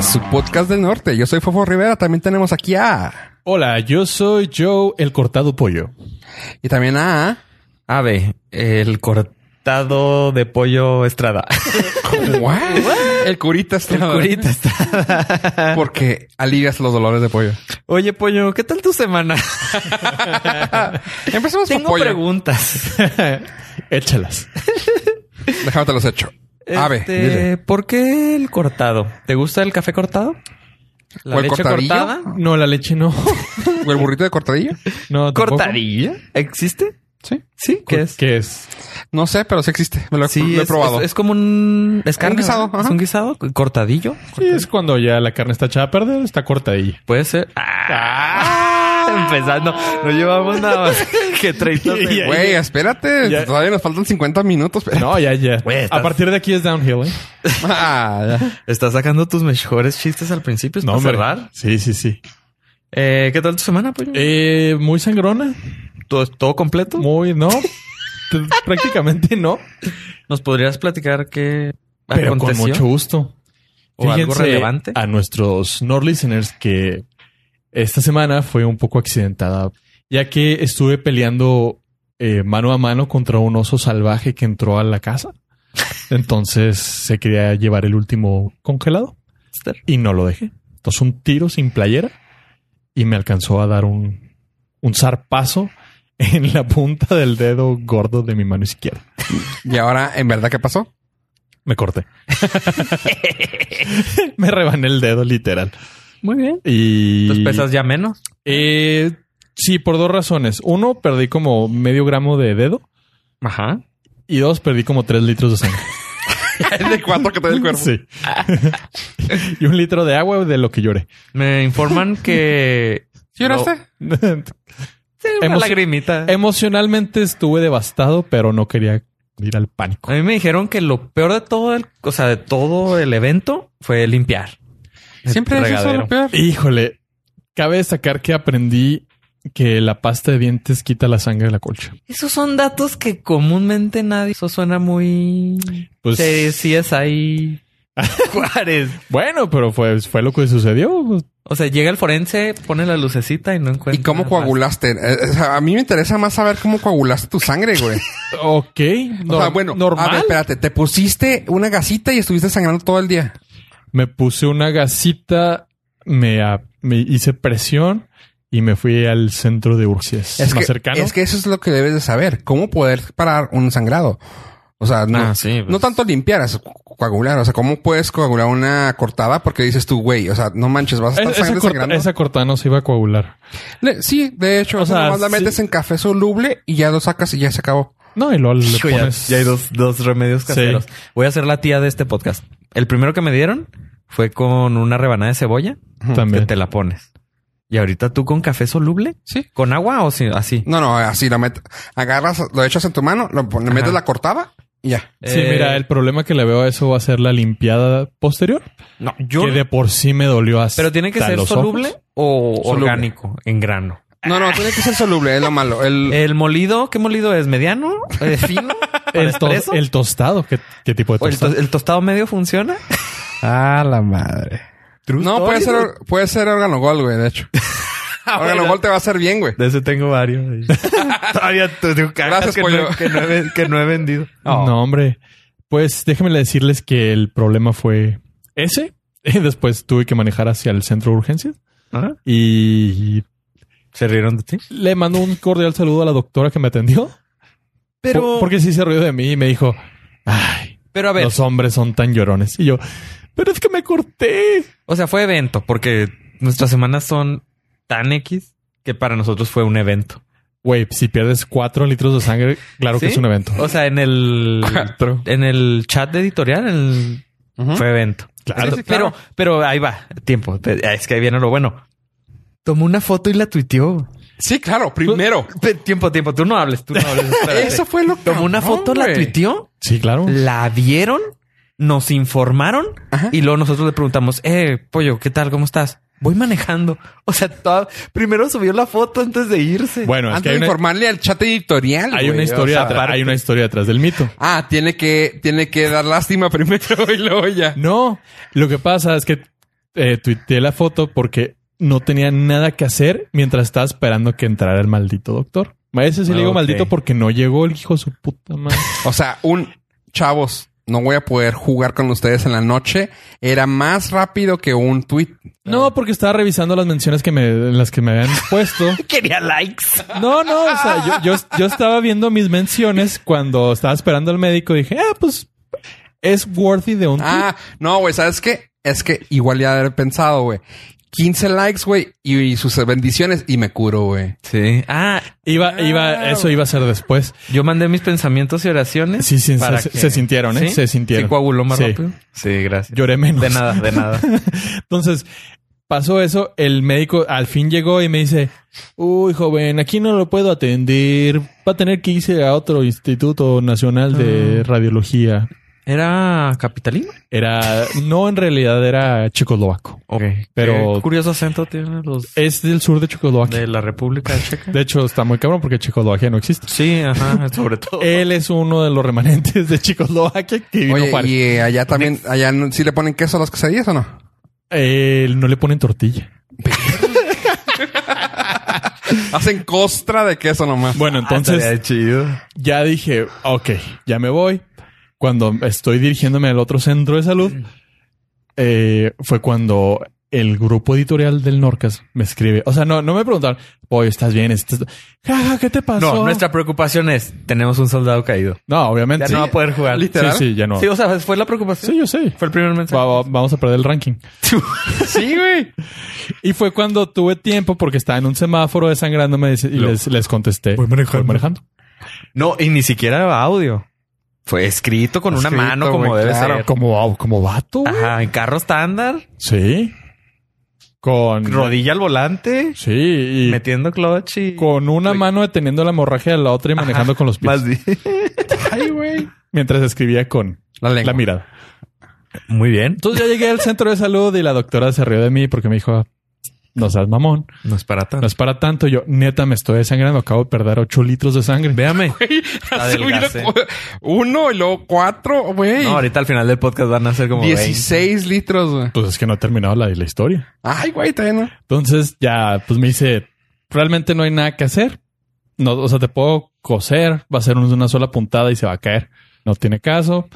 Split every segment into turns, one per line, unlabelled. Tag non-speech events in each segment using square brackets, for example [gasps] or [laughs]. su podcast del norte. Yo soy Fofo Rivera, también tenemos aquí a...
Hola, yo soy Joe, el cortado pollo.
Y también a...
Ave, el cortado de pollo
[laughs]
Estrada.
What? El curita está...
Curita Estrada.
Porque alivias los dolores de pollo.
Oye, pollo, ¿qué tal
[laughs]
tu semana?
Empecemos con
Tengo
pollo. [laughs]
preguntas.
Échalas.
Déjame te los hecho. Ave,
Este,
dile.
¿Por qué el cortado? ¿Te gusta el café cortado? ¿La
¿O el
leche
cortadillo?
cortada?
No, la leche no.
¿O el burrito de cortadillo?
[laughs] No, tampoco.
¿Cortadilla? ¿Existe?
Sí.
Sí, ¿qué es?
¿Qué es?
No sé, pero sí existe. Me lo, he-
Sí,
lo he
es,
probado.
es- es como un... Es carne,
guisado,
¿verdad?
ajá.
Es un guisado. ¿Cortadillo?
Sí, es cuando ya la carne está echada a perder, está cortadilla.
Puede ser. [laughs] ¡Ah! Empezando. No llevamos nada más [laughs]
[laughs]
que 30
Y-
segundos.
Güey, espérate.
Ya.
Todavía nos faltan 50 minutos. pero-
No, ya, ya.
Güey, estás-
A partir de aquí es downhill, ¿eh?
[laughs] Ah, ya.
Estás sacando tus mejores chistes al principio. ¿Es
No,
para
hombre.
cerrar?
Sí, sí, sí.
Eh, ¿Qué tal tu semana, pollo?
Eh, muy sangrona.
¿Todo, todo completo?
Muy, no. [laughs]
pues, [laughs]
T- Prácticamente no.
¿Nos podrías platicar qué
Pero con
aconteció?
mucho gusto.
¿O algo relevante?
a nuestros no listeners que esta semana fue un poco accidentada, ya que estuve peleando eh, mano a mano contra un oso salvaje que entró a la casa. Entonces se quería llevar el último congelado y no lo dejé. Entonces un tiro sin playera y me alcanzó a dar un, un zarpazo en la punta del dedo gordo de mi mano izquierda.
Y ahora, ¿en verdad qué pasó?
Me corté. [laughs] me rebané el dedo literal.
Muy bien.
Y
¿Tus pesas ya menos?
Eh, sí, por dos razones. Uno, perdí como medio gramo de dedo.
Ajá.
Y dos, perdí como tres litros de sangre.
El de cuatro que te da el cuerpo.
Sí. [laughs] y un litro de agua de lo que lloré. [laughs]
Me
[laughs]
informan que...
¿Lloraste?
Sí, una
Hemos-
lagrimita.
Emocionalmente estuve devastado, pero no quería ir al pánico.
A mí me dijeron que lo peor de todo el... O sea, de todo el evento fue limpiar. el
Siempre es eso
regadero.
lo peor.
Híjole, cabe destacar que aprendí que la pasta de dientes quita la sangre de la colcha.
Esos son datos que comúnmente nadie. Eso suena muy.
Pues-
Sí, sí es ahí. [laughs] Juárez.
Bueno, pero fue, fue lo que sucedió. Pues,
O sea, llega el forense, pone la lucecita y no encuentra.
¿Y cómo
más.
coagulaste? Eh, o sea, a mí me interesa más saber cómo coagulaste tu sangre, güey.
Ok.
o sea,
nor-
bueno,
normal.
a ver, espérate, te pusiste una gasita y estuviste sangrando todo el día.
Me puse una gasita, me, a- me hice presión y me fui al centro de urgencias más
que,
cercano.
es que eso es lo que debes de saber, cómo poder parar un sangrado. O sea, no,
Ah, sí, pues.
no tanto limpiar, es co- coagular. O sea, ¿cómo puedes coagular una cortada? Porque dices tú, güey, o sea, no manches, vas a
Es-
estar
esa,
sangre
corta-
sangrando.
esa cortada no se iba a coagular.
Le- sí, de hecho,
O
o sea,
sea,
nomás la
sí.
metes en café soluble y ya lo sacas y ya se acabó.
No, y luego le
Hijo, ya,
pones...
ya hay dos, dos remedios
Sí.
caseros. Voy a ser la tía de este podcast. El primero que me dieron fue con una rebanada de cebolla
[laughs] También.
que te la pones. Y ahorita tú con café soluble,
Sí.
con agua o si- así.
No, no, así la metes, agarras, lo echas en tu mano, lo pon- le
Ajá.
metes la cortada y ya.
Sí,
Eh,
mira, el problema que le veo a eso va a ser la limpiada posterior,
No, yo.
que de por sí me dolió hasta
Pero tiene que ser
los
soluble
ojos.
o
Soluble.
orgánico, en grano.
No, no, tiene que ser soluble, es lo malo. El,
[laughs] El molido, ¿qué molido Eh,
[laughs]
es? ¿Mediano? Eh, ¿Fino? ¿Para
El, to-
expreso?
el tostado, ¿qué, qué tipo de
¿O el, to-
tostado?
el tostado
[laughs]
medio funciona?
Ah, la madre. No, puede ser, puede ser órgano-gol, güey, de hecho. Órgano-gol te va a hacer bien, güey.
De ese tengo varios. [laughs] Todavía te digo
Gracias,
que,
pollo.
no, que, no he, que no he vendido.
No, hombre. Pues déjenme decirles que el problema fue ese. [laughs] Y después tuve que manejar hacia el centro de urgencias.
¿Ah?
Y
¿Se rieron de ti?
Le mando un cordial saludo a la doctora que me atendió.
Pero,
Por- porque sí se rió de mí y me dijo, ay,
pero a ver,
los hombres son tan llorones. Y yo, pero es que me corté.
o sea, fue evento porque nuestras semanas son tan X que para nosotros fue un evento.
Güey, si pierdes cuatro litros de sangre, claro que
¿Sí?
es un evento.
O sea, en el, en el chat de editorial, el,
Ujú.
fue evento.
Claro.
¿Mm? Sí, sí,
Pero, pero ahí va, tiempo. Es que ahí viene lo bueno. Tomó una foto y la tuiteó.
Sí, claro, primero.
Pe- Tiempo, tiempo. Tú no hables, tú no [laughs] hables. Pues, espérate.
Eso fue lo que.
Tomó una foto, la tuiteó,
Sí, claro.
la vieron, nos informaron
Ajá.
y luego nosotros le preguntamos, eh, pollo, ¿qué tal? ¿Cómo estás? Voy manejando. [laughs] O sea, toda- primero subió la foto antes de irse.
Bueno, es que
Antes
hay
de
una,
informarle al chat editorial.
hay
güey,
una
o
historia
sea,
detrás- hay una historia detrás del mito.
Ah, [laughs] tiene que, tiene que dar lástima primero y luego ya.
No, lo que pasa es que eh, tuiteé la foto porque no tenía nada que hacer mientras estaba esperando que entrara el maldito doctor. A veces sí le digo
Ok.
maldito porque no llegó el hijo de su puta madre.
O sea, un chavos, no voy a poder jugar con ustedes en la noche. Era más rápido que un tweet.
No,
Ah.
porque estaba revisando las menciones que me, en las que me habían puesto.
[laughs] Quería likes.
No, no, o sea, yo, yo, yo estaba viendo mis menciones cuando estaba esperando al médico. Dije, ah, pues es worthy de un tweet.
Ah, no, güey, ¿sabes qué? Es que igual ya haber pensado, güey. 15 likes, güey, y, y sus bendiciones, y me curo, güey.
Sí. Ah,
Iba, iba, eso iba a ser después.
yo mandé mis pensamientos y oraciones.
Sí, sí,
para
se,
que-
se sintieron, ¿eh?
¿Sí?
Se sintieron.
¿Sí coaguló más
Sí.
rápido? Sí, gracias.
Lloré menos.
De nada,
[laughs]
de nada.
Entonces, pasó eso. El médico al fin llegó y me dice, uy, joven, aquí no lo puedo atender. Va a tener que irse a otro Instituto Nacional de
Ah.
Radiología.
¿Era capitalino?
Era, no en realidad era checoslovaco,
Ok.
pero
Qué curioso acento tienen los
es del sur de Checoslovaquia.
de la República Checa.
De hecho, está muy cabrón porque Checoslovaquia no existe.
Sí, ajá, sobre todo.
Él es uno de los remanentes de Checoslovaquia que vino
Oye,
Juárez.
y eh, allá también, allá no- sí le ponen queso a las quesadillas o no?
Eh, no le ponen tortilla.
Hacen costra de queso nomás.
Ah,
Bueno, entonces
chido.
ya dije, ok, ya me voy. Cuando estoy dirigiéndome al otro centro de salud, eh, fue cuando el grupo editorial del Norcas me escribe. O sea, no, no me preguntaron, oye, ¿estás bien? ¿Estás... Ja, ja, ¿Qué te pasó?
No, nuestra preocupación es, tenemos un soldado caído.
No, obviamente.
Ya no va a poder jugar.
sí,
literal.
sí, ya no.
Sí, o sea, fue la preocupación.
Sí, yo sé.
Fue el primer mensaje.
Va- va- vamos a perder el ranking.
sí, güey.
Y fue cuando tuve tiempo porque estaba en un semáforo desangrándome y les, les contesté. Voy manejando.
No, y ni siquiera audio. Fue escrito con una
Escrito,
mano como
güey,
debe
claro.
ser.
Como, va- como vato. güey.
Ajá, en carro estándar,
Sí. Con...
rodilla al volante,
Sí. y
metiendo clutch y...
con una mano deteniendo la hemorragia de la otra y manejando con los pies.
Más bien.
Ay, güey. Mientras escribía con
La lengua.
la mirada.
Muy bien.
Entonces ya llegué al centro de salud y la doctora se rió de mí porque me dijo, no seas mamón,
No es para
no
tanto.
es para tanto. Yo, neta, me estoy desangrando. Acabo de perder 8 litros de sangre.
Véame.
[laughs] Ha subido
Adelgacé.
cu- uno y luego cuatro, güey.
No, ahorita al final del podcast van a ser como 16.
16 litros, güey.
Pues es que no he terminado la, la historia.
Ay, güey, todavía no.
Entonces ya, pues me dice, realmente no hay nada que hacer. No, o sea, te puedo coser, va a ser una sola puntada y se va a caer. No tiene caso.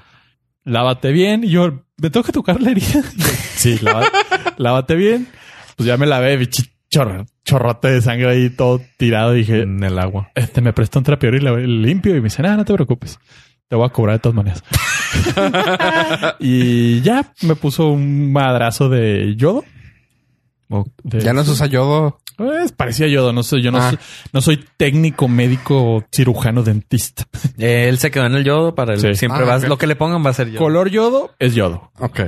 Lávate bien. Y yo, ¿me tengo que tocar la herida? [laughs] Y yo, sí, lava- lávate bien. Pues ya me lavé, bichi, chorro, chorrote de sangre ahí todo tirado. Y dije,
en el agua.
este me presta un trapeador y la limpio. Y me dice, nada, no te preocupes. Te voy a cobrar de todas maneras. [laughs] y ya me puso un madrazo de yodo. De-
Ya no se usa yodo.
pues parecía yodo, no soy, yo no,
Ah.
soy, no soy técnico, médico, cirujano, dentista.
Él se quedó en el yodo para el...
Sí.
Siempre
Ah,
vas...
ok.
Lo que le pongan va a ser yodo.
Color yodo es yodo
Ok.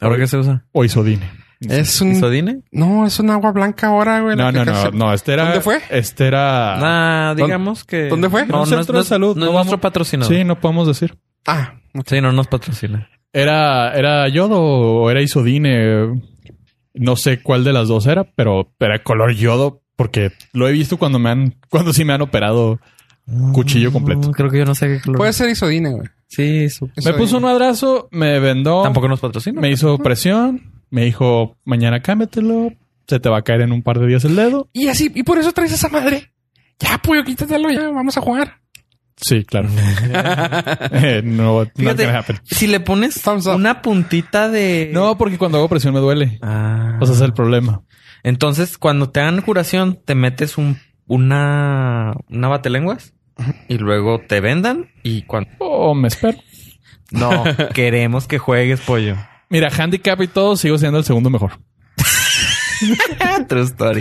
¿Ahora qué se usa?
o isodine.
Es
Mm.
un.
¿Isodine?
No, es un agua blanca ahora, güey. la
No, no,
que
no,
casi-
no, este era.
¿Dónde fue?
Este era.
Ah, digamos que...
dónde fue?
Era
No,
un
no, es-
centro
no
de
es-
salud.
No
No
es
vamos-
nuestro patrocinador.
Sí, no podemos decir.
Ah,
Sí, no nos patrocina.
Era, era yodo o era isodine. No sé cuál de las dos era, pero era color yodo porque lo he visto cuando me han, cuando sí me han operado cuchillo completo.
Mm, Creo que yo no sé qué color. Pues,
puede ser isodina, güey.
sí, su-
Me puso un madrazo, me vendó.
tampoco nos patrocina.
Me hizo presión, me dijo, mañana cámbiatelo, se te va a caer en un par de días el dedo.
Y así, y por eso traes esa madre. Ya, pollo, quítatelo, ya, vamos a jugar.
Sí,
[laughs]
claro. Eh, no, not
Fíjate, eh,
gonna happen.
si le pones
Thumbs up.
una puntita de
no, porque cuando hago presión me duele.
Ah.
O sea, es el problema.
entonces cuando te dan curación te metes un una una batelenguas y luego te vendan y cuando
O Oh, me espero.
no [laughs] queremos que juegues pollo.
Mira, handicap y todo, sigo siendo el segundo mejor.
[laughs] True story.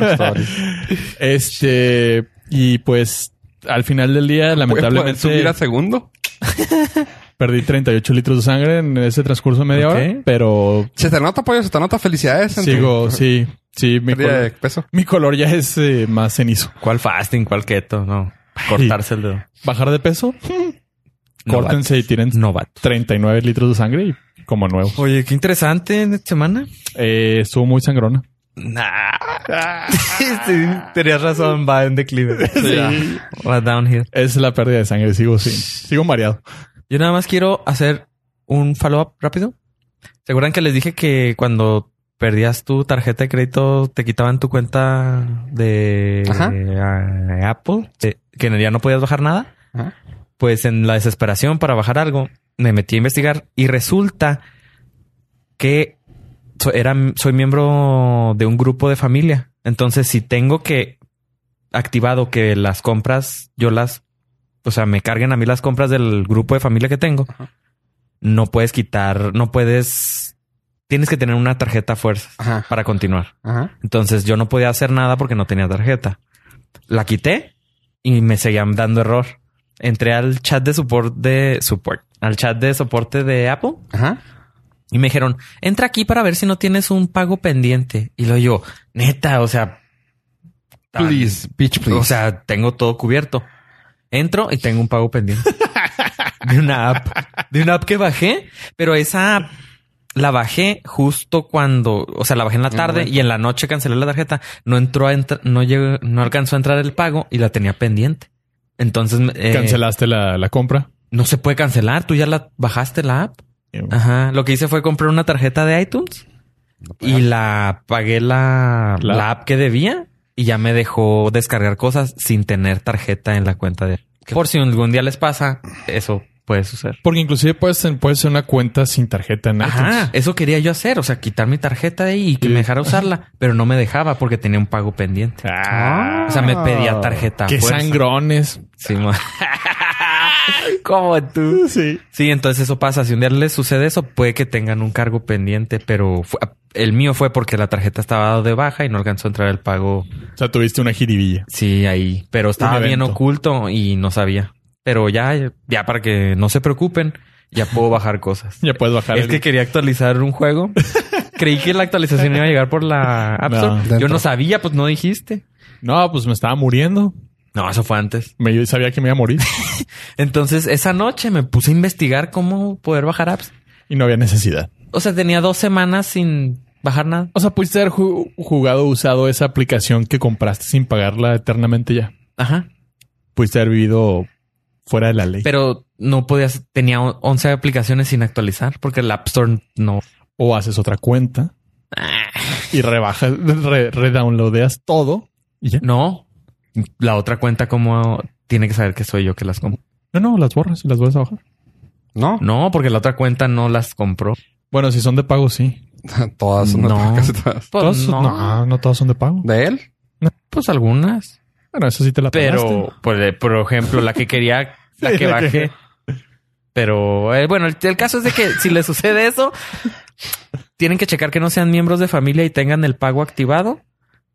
Este, y pues al final del
Pues,
día,
Lamentablemente. subir a
lamentablemente,
segundo?
perdí 38 litros de sangre en ese transcurso de media
Ok.
hora, pero
Se te nota, pollo, se te nota. Felicidades. en tu
sigo, sí, sí, mi
Pérdida de
color,
peso.
mi color ya es eh, más cenizo.
¿Cuál fasting? ¿Cuál keto? No. Cortarse el dedo.
Bajar de
[laughs]
peso,
Novato.
córtense y tiren
Novato.
39 litros de sangre y como nuevo.
Oye, qué interesante en esta semana.
Eh, estuvo muy sangrona.
Nah. [laughs] Sí, tenías razón, va
[laughs]
en declive. Ya. Va downhill.
Es la pérdida de sangre. Sigo sin, sigo mareado.
Yo nada más quiero hacer un follow-up rápido. ¿Se acuerdan que les dije que cuando perdías tu tarjeta de crédito, te quitaban tu cuenta de
Ajá.
eh, Apple, eh, que ya no podías bajar nada.
Ajá.
Pues en la desesperación para bajar algo, me metí a investigar y resulta que so- era, soy miembro de un grupo de familia. Entonces, si tengo que activado que las compras, yo las, o sea, me carguen a mí las compras del grupo de familia que tengo,
Ajá.
no puedes quitar, no puedes, tienes que tener una tarjeta a fuerzas
Ajá.
para continuar.
Ajá.
Entonces yo no podía hacer nada porque no tenía tarjeta. La quité y me seguían dando error. Entré al chat de support de support, al chat de soporte de Apple
Ajá.
y me dijeron, entra aquí para ver si no tienes un pago pendiente. Y lo yo, neta, o sea, tan-
Please, bitch, please.
o sea, tengo todo cubierto. Entro y tengo un pago pendiente. De una app. De una app que bajé, pero esa app la bajé justo cuando, o sea, la bajé en la
En el
tarde
momento.
y en la noche cancelé la tarjeta. No entró a entr- no llegó, no alcanzó a entrar el pago y la tenía pendiente. Entonces, eh,
Cancelaste la, la compra. Eh,
no se puede cancelar. Tú ya la bajaste la app.
Ajá.
Ajá. Lo que hice fue comprar una tarjeta de iTunes y la pagué la,
La-
la app que debía y ya me dejó descargar cosas sin tener tarjeta en la cuenta de Por si algún día les pasa, eso puede suceder.
Porque inclusive puedes, ten- puedes hacer una cuenta sin tarjeta en
Ajá,
iTunes.
eso quería yo hacer, o sea, quitar mi tarjeta de ahí y que me dejara usarla, pero no me dejaba porque tenía un pago pendiente.
Ah.
O sea, me pedía tarjeta. a
Qué
fuerza.
sangrones.
Sí, mo- [laughs] Como tú.
Sí.
Sí, entonces eso pasa. Si un día les sucede eso, puede que tengan un cargo pendiente, pero fue- el mío fue porque la tarjeta estaba de baja y no alcanzó a entrar el pago.
O sea, tuviste una jiribilla.
Sí, ahí. Pero estaba bien
evento.
oculto y no sabía. Pero ya, ya para que no se preocupen, ya puedo bajar cosas.
[laughs] Ya puedes bajar.
Es
el-
que quería actualizar
[laughs]
un juego. Creí que la actualización iba a llegar por la App
No,
Store. Yo
dentro.
no sabía, pues no dijiste.
No, pues me estaba muriendo.
No, eso fue antes.
Me, yo sabía que me iba a morir
Entonces, esa noche me puse a investigar cómo poder bajar apps.
y no había necesidad.
O sea, tenía dos semanas sin bajar nada.
O sea, pudiste haber ju- jugado usado esa aplicación que compraste sin pagarla eternamente ya.
Ajá.
Pudiste haber vivido fuera de la ley.
Pero no podías, tenía on- 11 aplicaciones sin actualizar porque el App Store no.
o haces otra cuenta y rebajas, re- redownloadeas todo y ya.
No. La otra cuenta, como tiene que saber que soy yo que las compro.
No, no, las borras y las vuelves a bajar.
no.
No, porque la otra cuenta no las compró.
Bueno, si son de pago, sí.
[laughs] todas son de-
No.
casi todas.
Pues
Todas-
no.
no. ah, no, todas son de pago.
¿De él?
Pues algunas.
Bueno, eso sí te la
Pero,
pelaste.
pues, eh, por ejemplo, la
[laughs]
que quería, la
Sí,
que
la que-
bajé. Pero eh, bueno, el, el caso es de que si les sucede eso, tienen que checar que no sean miembros de familia y tengan el pago activado.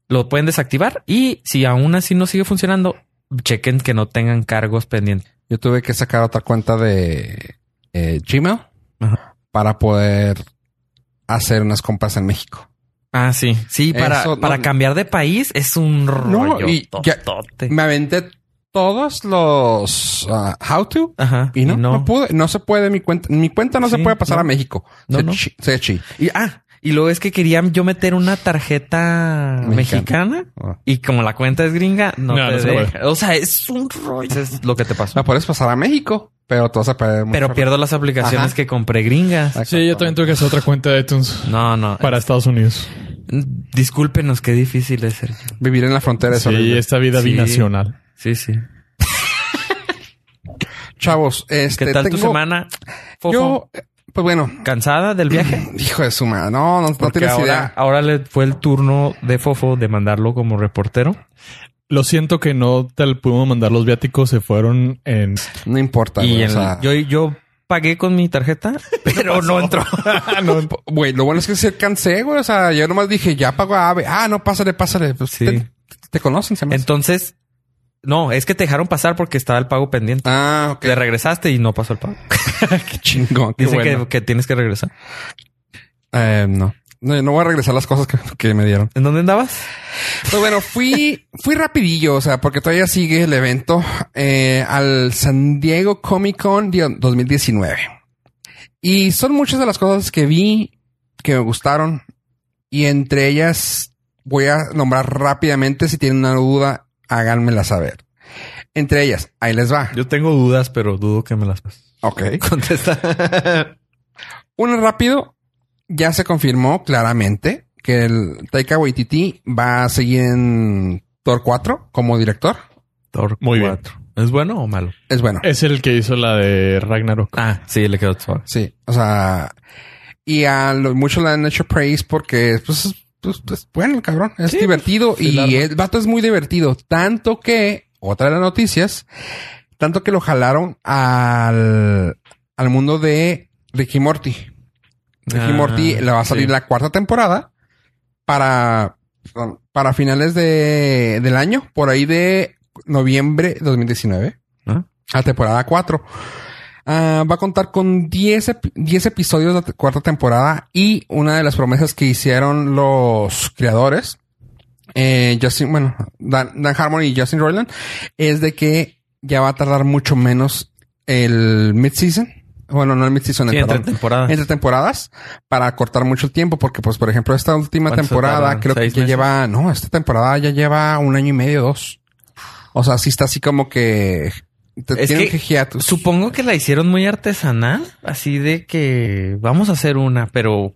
Lo pueden desactivar y si aún así no sigue funcionando, chequen que no tengan cargos pendientes.
Yo tuve que sacar otra cuenta de eh, Gmail
Ajá.
para poder hacer unas compras en México.
Ah, sí. Sí, para,
Eso no-
para cambiar de país es un rollo.
y ya-
totote.
Me aventé todos los ah, how to
Ajá.
y no, no. pude, no se puede mi cuenta, mi cuenta no se
Sí,
puede pasar
no.
a México.
No,
se,
no.
chi- se chi.
Y, ah, y luego es que querían yo meter una tarjeta
Mexicana.
mexicana. Y como la cuenta es gringa, no,
No,
te
no se
deja. O sea, es un rollo. Eso es lo que te pasó.
La puedes pasar a México, pero te vas a perder mucho.
Pero pierdo las aplicaciones
Ajá.
que compré gringas.
Exacto.
Sí, yo también tuve que hacer otra cuenta de iTunes
No, no.
para Estados Unidos.
Discúlpenos, qué difícil es ser.
vivir en la frontera es
Sí,
horrible.
esta vida
Sí.
binacional.
Sí, sí.
Chavos, este
¿Qué tal tu
tengo-
semana? Fofo?
Yo, eh, pues bueno,
¿Cansada
[clears throat]
del viaje?
hijo de su madre, no, no, no
Porque
tienes
ahora,
idea.
ahora le fue el turno de Fofo de mandarlo como reportero.
Lo siento que no te pudimos mandar los viáticos, se fueron en...
No importa,
y
güey, o
el-
sea-
yo, yo pagué con
[laughs]
mi tarjeta, pero no entró.
Po- Güey, lo bueno es que se cansé, güey. O sea, yo nomás dije, ya pago a AVE. Ah, no, pásale, pásale. Pues
Sí.
te, te conocen, se me hace.
Entonces, no, es que te dejaron pasar porque estaba el pago pendiente.
Ah, ok.
Te regresaste y no pasó el pago.
Qué chingón. Qué
Dice
bueno.
que, que tienes que regresar.
Eh, no. no. no voy a regresar las cosas que, que me dieron.
¿En
[laughs]
dónde andabas?
Pues bueno, fui, fui rapidillo, o sea, porque todavía sigue el evento eh, al San Diego Comic Con de 2019. Y son muchas de las cosas que vi que me gustaron. Y entre ellas voy a nombrar rápidamente. Si tienen una duda, háganmela saber. Entre ellas, ahí les va.
Yo tengo dudas, pero dudo que me las
Ok.
contesta.
Uno rápido, ya se confirmó claramente que el Taika Waititi va a seguir en Thor 4 como director.
Thor
Muy bien.
4. ¿Es bueno o malo?
Es bueno.
Es el que hizo la de Ragnarok.
Ah, sí, le quedó suave.
Sí, o sea, y a los muchos le han hecho praise porque, pues, pues, pues, bueno, el cabrón es
Sí,
divertido
sí, la
y
arma.
el vato es muy divertido. Tanto que, otra de las noticias, tanto que lo jalaron al, al mundo de Ricky Morty. Ricky
Ah,
Morty le va a salir
sí.
la cuarta temporada para, perdón, para finales de, del año, por ahí de noviembre 2019
¿Ah?
a temporada 4. Ah, va a contar con 10, ep- 10 episodios de la te- cuarta temporada y una de las promesas que hicieron los creadores, eh, Justin, bueno, Dan, Dan Harmon y Justin Roiland, es de que ya va a tardar mucho menos el mid-season. Bueno, no el mid-season,
Sí,
el
entre
perdón,
temporadas.
entre temporadas para cortar mucho el tiempo, porque pues por ejemplo esta última
¿Cuánto se
temporada
tardaron?
creo que
¿Seis
ya
meses?
lleva, no, esta temporada ya lleva un año y medio, dos. O sea, sí está así como que te
Es
tienen que
que
hiatus.
Supongo que la hicieron muy artesanal, así de que vamos a hacer una, pero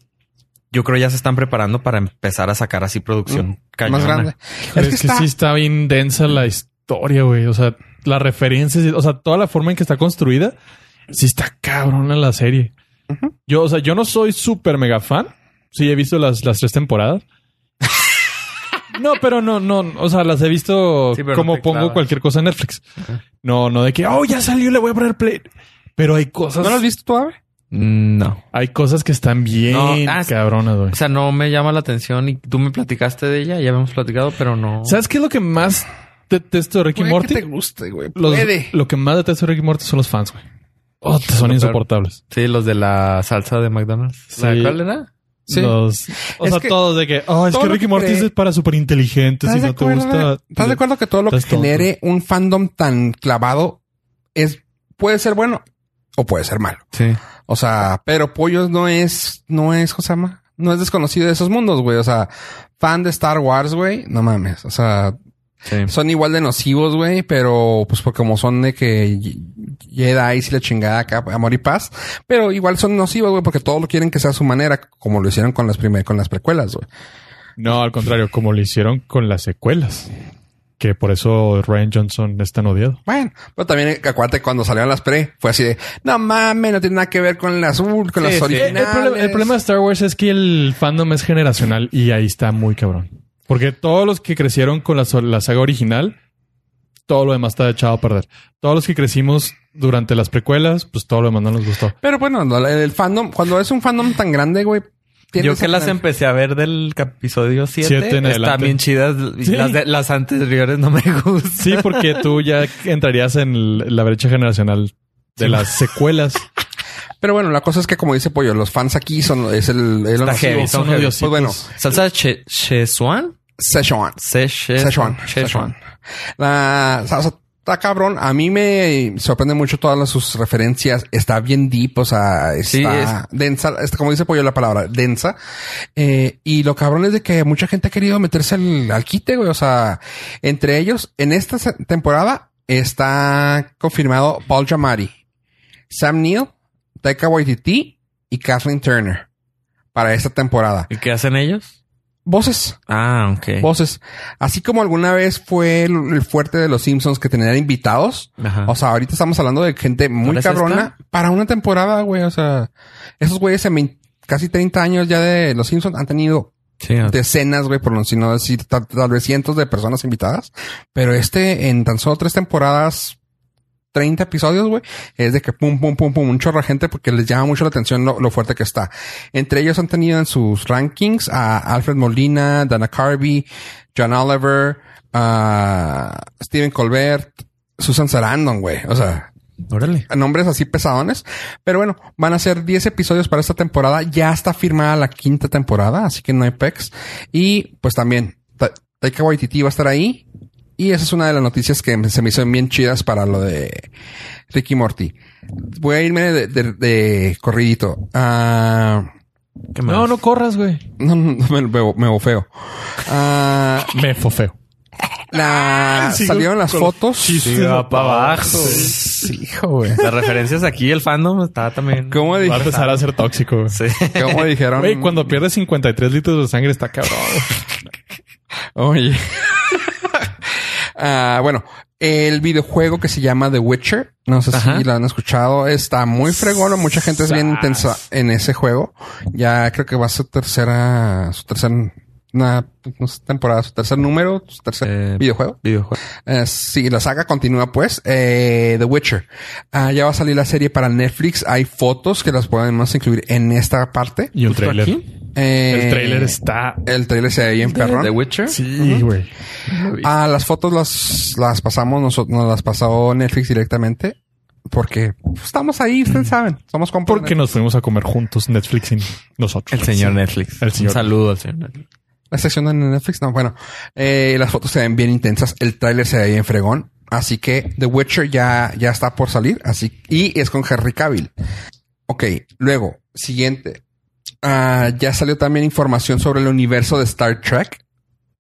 yo creo ya se están preparando para empezar a sacar así producción cañona.
Mm, más grande.
Es,
Es que,
que,
está-
sí está bien densa la historia, güey. O sea, las referencias, o sea, toda la forma en que está construida, sí está cabrona la serie.
Ujú.
Yo, o sea, yo no soy súper mega fan. Sí, he visto las, las
[laughs]
tres temporadas. no, pero no, no, o sea, las he visto
Sí, pero no
como
te
pongo
clavas.
cualquier cosa en Netflix. No, no de que, oh, ya salió, le voy a poner play. Pero hay cosas,
¿No lo has visto tú, Abe?
No.
hay cosas que están bien
No, ah,
cabronas, güey.
O sea, no me llama la atención y tú me platicaste de ella, ya habíamos platicado, pero no.
¿Sabes qué es lo que más detesto de Ricky
Puede
Morty?
que te guste, güey.
Los-
Puede.
lo que más detesto de Ricky Morty son los fans, güey. Oh, son
Lo peor.
insoportables.
Sí, los de la salsa de McDonald's. ¿La
Sí.
cuál era?
Sí.
Los- o
Es
sea,
que-
todos de que, oh, es
todo
que
lo
Ricky
que-
Morty es para súper inteligentes
¿Estás,
y
de
no te
acuerdo,
gusta.
güey? ¿Estás de acuerdo que todo lo que
Estás tonto.
genere un fandom tan clavado es puede ser bueno o puede ser malo?
Sí.
O sea, pero Pollos no es, no es, ¿cómo se llama? No es desconocido de esos mundos, güey. O sea, fan de Star Wars, güey. No mames. O sea,
Sí.
son igual de nocivos, güey. Pero pues porque como son de que y- Jedi y la chingada acá, amor y paz. Pero igual son nocivos, güey, porque todos lo quieren que sea a su manera, como lo hicieron con las primeras, con las precuelas, güey.
No, al contrario, como lo hicieron con las secuelas. Que por eso Ryan Johnson es tan odiado.
Bueno, pero también eh, acuérdate cuando salieron las pre, fue así de, no mames, no tiene nada que ver con las, ul- con
Sí,
las
sí.
El,
originales.
problema, el problema de Star Wars es que el fandom es generacional y ahí está muy cabrón. Porque todos los que crecieron con la, so- la saga original, todo lo demás está echado a perder. Todos los que crecimos durante las precuelas, pues todo lo demás no nos gustó.
Pero bueno, no, el- el fandom, cuando es un fandom tan grande, güey,
Yo
tiendes
que
a
las
tener-
empecé a ver del episodio 7.
Siete en
Están
adelante.
bien chidas. y
Sí.
Las, de- las anteriores no me gustan.
Sí, porque tú ya entrarías en l- la brecha generacional de las secuelas.
Pero bueno, la cosa es que como dice Pollo, los fans aquí son es el, el
Está
nocivo.
heavy, son
Pues
odiositos.
bueno,
¿Salsa che- Szechuan?
Szechuan.
Se- she-
Szechuan.
Szechuan.
La, o sea, o sea, está cabrón. A mí me sorprende mucho todas las- sus referencias. Está bien deep, o sea, está
Sí,
densa. Está, como dice Pollo la palabra, densa. Eh, y lo cabrón es de que mucha gente ha querido meterse al, al quite, güey. O sea, entre ellos, en esta se- temporada está confirmado Paul Giamatti, Sam Neill, Taika Waititi y Kathleen Turner para esta temporada.
¿Y qué hacen ellos?
Voces
Ah, ok.
voces. Así como alguna vez fue el, el fuerte de los Simpsons que tenían invitados.
Ajá.
O sea, ahorita estamos hablando de gente muy
¿Ahora es
cabrona para una temporada, güey. O sea, esos güeyes en vein- casi 30 años ya de los Simpsons han tenido
Sí, o-
decenas, güey, por no si no decir tal, tal vez cientos de personas invitadas. Pero este en tan solo tres temporadas, 30 episodios, güey, es de que pum, pum, pum, pum, un chorro de gente porque les llama mucho la atención lo, lo fuerte que está. Entre ellos han tenido en sus rankings a Alfred Molina, Dana Carvey, John Oliver, a Stephen Colbert, Susan Sarandon, güey. O sea,
Órale.
nombres así pesadones. Pero bueno, van a ser 10 episodios para esta temporada. Ya está firmada la quinta temporada, así que no hay pex. Y pues también, Ta- Taika Waititi va a estar ahí. Y esa es una de las noticias que me- se me hicieron bien chidas para lo de Ricky Morty. Voy a irme de, de- de corridito. Ah, [laughs]
¿Qué más?
No, no corras, güey.
no, no, me, me- me bofeo. Ah,
Me fofeo.
la-
sigo [laughs]
Ah, salieron las
con-
fotos.
Sí,
Sí, va para abajo.
Sí, hijo, güey.
Las referencias aquí, el fandom está también.
¿Cómo,
Va a
dije-
empezar a ser tóxico.
[laughs]
güey.
Sí.
cómo dijeron?
Güey, cuando pierdes 53 litros de sangre está cabrón.
Oye. Ah, bueno, el videojuego que se llama The Witcher, no sé
Ajá.
si lo han escuchado, está muy fregón, mucha gente es bien
Sas.
intensa en ese juego. Ya creo que va a su tercera, su tercera una, no sé, temporada, su tercer número, su tercer
Eh,
videojuego.
Videojuego.
Eh, sí, la saga continúa pues. Eh, The Witcher. Ah, ya va a salir la serie para Netflix. Hay fotos que las podemos incluir en esta parte.
Y un
Justo
trailer.
aquí.
Eh,
El trailer está.
El trailer se ve bien perrón.
The Witcher.
Sí, güey.
Ah, las fotos las, las pasamos, nosotros nos las pasó Netflix directamente. Porque pues, estamos ahí, ustedes saben. Somos compas.
Porque nos fuimos a comer juntos Netflix y nosotros.
El señor
Sí.
Netflix.
El señor.
Un saludo al señor Netflix.
La sección de Netflix, no, bueno. Eh, las fotos se ven bien intensas. El tráiler se ve bien fregón. Así que The Witcher ya, ya está por salir. Así, y es con Henry Cavill. Ok, luego, siguiente. Ah, ya salió también información sobre el universo de Star Trek.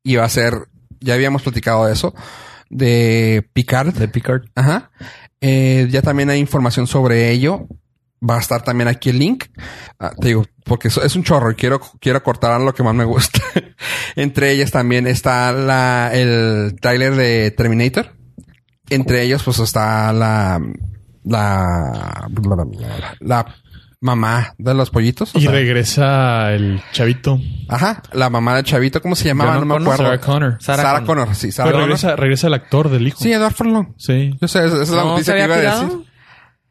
Y va a ser, ya habíamos platicado de eso, de Picard.
De Picard.
Ajá. Eh, ya también hay información sobre ello. Va a estar también aquí el link. Ah, te digo, porque eso es un chorro y quiero, quiero cortar lo que más me gusta. [laughs] Entre ellas también está la, el tráiler de Terminator. Entre ellos, pues está la, la, la mamá de los pollitos. o
Y
sea,
regresa el chavito.
ajá, la mamá del chavito, ¿cómo se llamaba? No,
John
me
O'Connor,
acuerdo.
Sarah Connor.
Sarah,
Sarah
Connor. sí, Sarah
Pero
Connor.
Pues regresa, regresa el actor del hijo.
Sí, Edward Furlong.
Sí.
Yo sé, esa es la
¿No
noticia
se
que iba
había
a
pirado?
decir.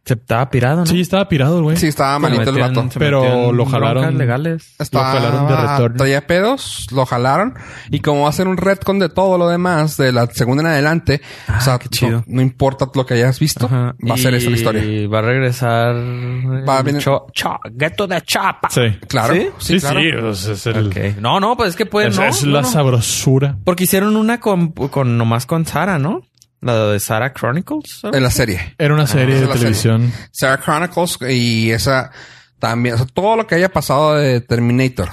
Se estaba pirado, ¿no?
Sí, estaba pirado, el güey.
Sí, estaba
Se
malito el
metió en-
vato.
se
Pero
metió en
lo jalaron.
broncas legales.
Estaba,
Lo jalaron de retorno.
Traía pedos, lo jalaron. Y como va a ser un retcon de todo lo demás, de la segunda en adelante,
Ah,
o sea,
qué chido.
No, no importa lo que hayas visto,
Ajá.
va a ser
Y
esa la historia.
va a regresar.
Va a
el
venir-
Cho- Cho- Gueto de Chapa.
Sí.
Claro.
¿Sí?
Sí, sí.
claro.
pues, es el-
Ok. No, no, pues es que pueden.
es,
no,
es
no,
la
no.
sabrosura.
Porque hicieron una con, con nomás con Sara, ¿no? La de Sara Chronicles. ¿no?
En la serie.
Era una serie
esa
de
es Ah, la serie.
televisión.
Sarah Chronicles y esa también, o sea, todo lo que haya pasado de Terminator,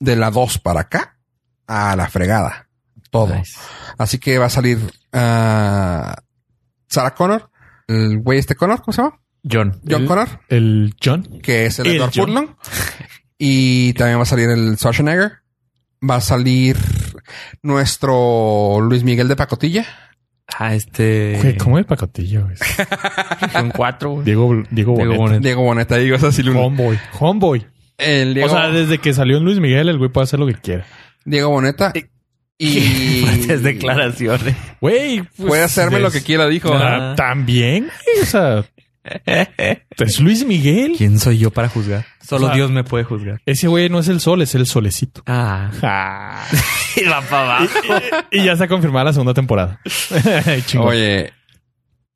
de la 2 para acá, a la fregada. Todo.
Nice.
Así que va a salir ah, Sarah Connor, el güey este Connor, ¿cómo se llama?
John.
John
El-
Connor.
El John.
que es el,
El
Edward
John.
Furlong. Y también va a salir el Schwarzenegger. Va a salir nuestro Luis Miguel de Pacotilla.
Ah, este.
Güey, ¿Cómo es
[laughs]
pacotillo? güey?
Son cuatro, [laughs] güey.
Diego, Diego
Diego
Boneta.
Boneta.
Diego Boneta, digo, es así. Luna.
Homeboy. Homeboy.
El Diego,
O sea, desde que salió en Luis Miguel, el güey puede hacer lo que quiera.
Diego Boneta.
[laughs]
Y.
Fuertes declaraciones.
Güey, pues,
Puede hacerme lo
es-
que quiera, dijo.
Ah, También. güey,
[laughs]
O sea, es Luis Miguel.
¿Quién soy yo para juzgar? Solo
O sea,
Dios me puede juzgar.
Ese güey no es el sol, es el solecito.
Ah. [laughs] y va para abajo.
[laughs]
y ya está confirmada la segunda temporada. [laughs] Chingón.
Oye.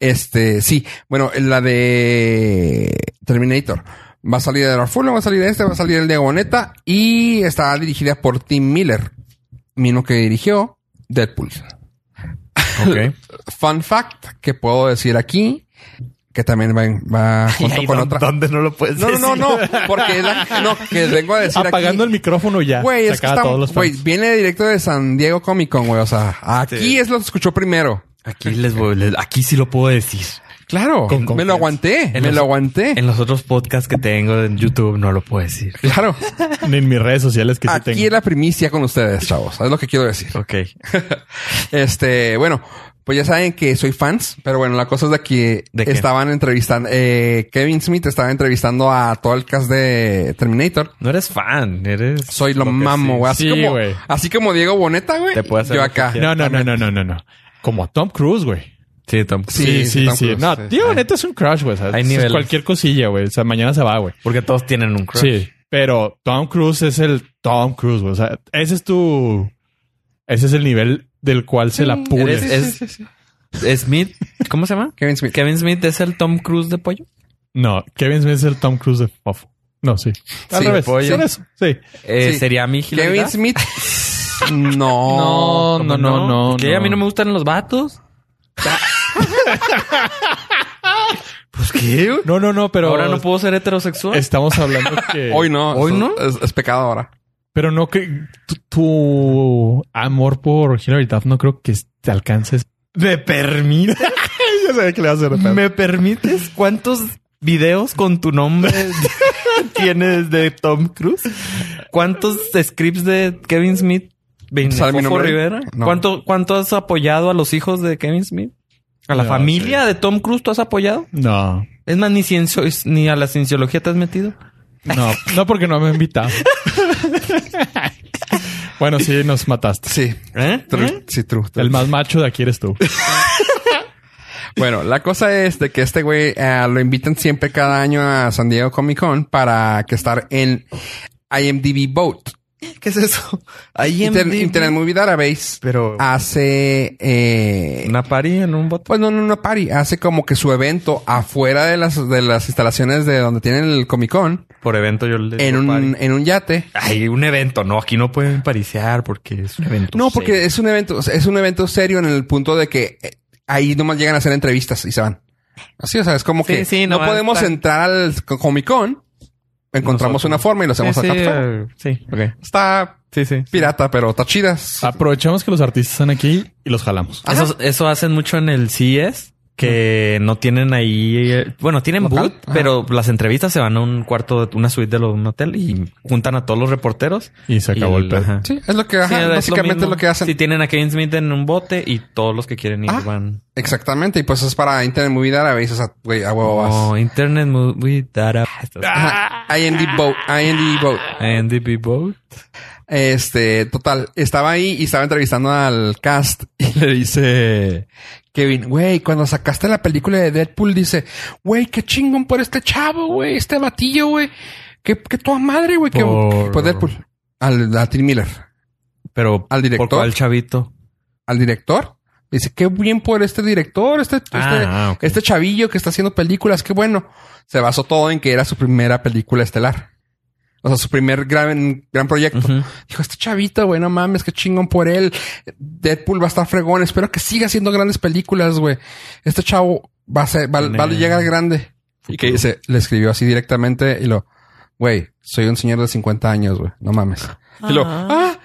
Este, sí. Bueno, la de Terminator. Va a salir Edward Furlong, va a salir este, va a salir el Diego Boneta. Y está dirigida por Tim Miller. Mismo que dirigió Deadpool.
[laughs] Ok.
fun fact que puedo decir aquí, que también va,
[laughs]
va junto con otra.
¿Dónde no lo puedes
No, no, no, no, porque es la- no, que vengo a decir aquí-
Apagando el micrófono ya.
Güey,
se
es que
acaba
está-
todos los
güey,
fans.
viene directo de San Diego Comic Con, güey. O sea, aquí
Sí.
es lo que escuchó primero.
Aquí les voy, les- aquí sí lo puedo decir.
Claro,
Con
me
confianza.
lo aguanté,
En
me
los-
lo aguanté.
En los otros podcasts que tengo en YouTube no lo puedo decir.
Claro,
Ni en mis redes sociales que sí
aquí
tengo.
es la primicia con ustedes, chavos. Es lo que quiero decir.
Ok.
Este, bueno, pues ya saben que soy fans, pero bueno, la cosa es de que
¿De qué?
estaban entrevistando, eh, Kevin Smith estaba entrevistando a todo el cast de Terminator.
No eres fan, eres.
Soy lo,
que
mamo,
sí.
güey. Así,
Sí,
como-
güey.
así como Diego Boneta, güey.
Te puede hacer
Yo
lo que
acá.
quieras.
No, no, no, no, no, no, no. Como a Tom Cruise, güey.
Sí, Tom.
Sí,
Sí, sí, sí.
Tom Cruise,
no,
sí.
tío, neta es un crush, güey. O sea,
Hay
es
niveles.
cualquier cosilla, güey. O sea, mañana se va, güey.
Porque todos tienen un crush.
Sí, pero Tom Cruise es el Tom Cruise, güey. O sea, ese es tu. Ese es el nivel del cual se la pule.
Eres- es- Smith, ¿cómo se llama?
[laughs] Kevin Smith.
Kevin Smith es el Tom Cruise de pollo.
No, Kevin Smith es el Tom Cruise de Fofo. No, sí. Al
Sí,
revés.
pollo.
Sí, eres- sí.
Eh,
Sí.
Sería mi
Kevin
Hilaridad.
Smith. No.
No, no, no, no.
Que a mí no me gustan los vatos. pues qué.
No, no, no, pero.
Pero ahora no puedo ser heterosexual.
Estamos hablando que.
Hoy no.
¿Hoy
Es-
no?
Es, es pecado ahora.
Pero no que. Tu, tu amor por Hillary Duff no creo que te alcances.
¿Me permite?
ya sabía que le vas a hacer de pedo.
¿Me permites cuántos videos con tu nombre
[laughs]
tienes de Tom Cruise? ¿Cuántos scripts de Kevin Smith? de
¿Sabe mi
Fofo
nombre?
Rivera?
No.
¿Cuánto, ¿Cuánto has apoyado a los hijos de Kevin Smith? ¿A la
No,
familia de Tom Cruise tú has apoyado?
No.
Es más, ni, ciencio- ni a la cienciología te has metido.
No, no porque no me han invitado. bueno, sí, nos mataste.
Sí.
¿Eh?
True.
¿Eh?
Sí, true. true.
El más macho de aquí eres tú.
Bueno, la cosa es de que este güey eh, lo invitan siempre cada año a San Diego Comic Con para que estar en IMDb Vote.
¿Qué es eso? Ahí en
Inter- Internet Movie Database
Pero
hace... eh,
una party en un bot.
pues no, no, no, party. Hace como que su evento afuera de las, de las instalaciones de donde tienen el Comic Con
Por evento yo le digo
en un,
party.
en un yate.
Ay, un evento. No, aquí no pueden parisear porque es un evento.
No, porque
serio.
es un evento, es un evento serio en el punto de que eh, ahí nomás llegan a hacer entrevistas y se van. Así, o sea, es como
Sí,
que
sí,
no
nomás
podemos
están-
entrar al co- Comic Con, encontramos
Nosotros.
una forma y lo hacemos
Sí,
acá.
sí,
afuera.
eh, sí, ok.
Está
Sí, sí.
pirata, pero está chidas.
Aprovechamos que los artistas están aquí y los jalamos.
Ajá.
Eso, eso hacen mucho en el CES, que no tienen ahí... eh, Bueno, tienen
Local.
booth,
Ajá.
pero las entrevistas se van a un cuarto, una suite de lo- un hotel y juntan a todos los reporteros.
Y se acabó
Y-
el pedo.
ajá.
Sí, es lo que, ajá,
Sí, es lo
básicamente es
mismo.
lo que hacen.
Si tienen a Kevin Smith en un bote y todos los que quieren ir
Ah.
van...
Exactamente. Y pues es para Internet Movie Database, o sea, güey, a huevo vas. Ah.
Oh, Internet Movie Data.
[laughs] Ajá. IMDb Boat, IMDb Boat.
NDB Boat.
Este, total, estaba ahí y estaba entrevistando al cast [laughs] y le dice Kevin, güey, cuando sacaste la película de Deadpool, dice, güey, qué chingón por este chavo, güey, este batillo, güey, que, que toda madre, güey, que
Por-
por Deadpool. Al, a Tim Miller,
Pero
al
¿por
director,
cuál chavito?
al director. Dice, qué bien por este director, este, este,
Ah, ok.
este chavillo que está haciendo películas, qué bueno. Se basó todo en que era su primera película estelar. O sea, su primer gran, gran proyecto.
Ujú.
Dijo, este chavito, güey, no mames, qué chingón por él. Deadpool va a estar fregón. Espero que siga haciendo grandes películas, güey. Este chavo va a ser, va,
Tiene-
va a llegar grande. Y que dice, le escribió así directamente y lo, güey, soy un señor de 50 años, güey, no mames. [laughs] Y lo, ah, [laughs]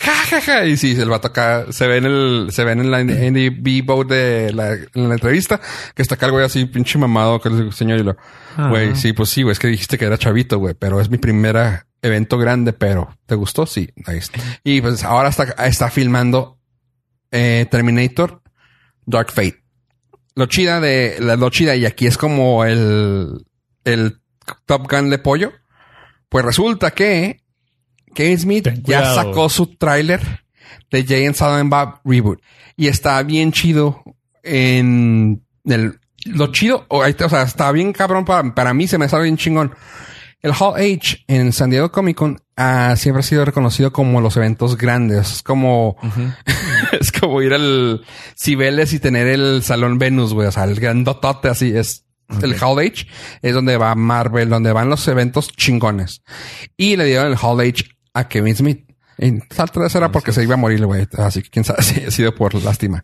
ja, ja, ja. Y sí, el vato acá se ve en el, se ve en la NDB boat de la, en la entrevista que está acá el güey así, pinche mamado con el señor y lo,
Ah.
Güey, sí, pues sí, güey, es que dijiste que era chavito, güey, pero es mi primera evento grande, pero ¿te gustó? Sí, ahí está. Y pues ahora está, está filmando eh, Terminator Dark Fate. Lo chida de la lo chida, y aquí es como el, el Top Gun de pollo. Pues resulta que Kevin Smith
Ten
ya
cuidado.
sacó su tráiler de Jay and Silent Bob Reboot y está bien chido en el lo chido, o, ahí está, o sea, está bien cabrón para, para mí, se me sale bien chingón. El Hall H en San Diego Comic Con ah, siempre ha sido reconocido como los eventos grandes. Es como,
Ujú.
[laughs] es como ir al Cibeles y tener el Salón Venus, güey. O sea, el grandotote así es. El Hall H es donde va Marvel, donde van los eventos chingones. Y le dieron el Hall H a Kevin Smith. En tal vez era porque se iba a morir, el güey. Así que quién sabe [laughs] si ha sido por lástima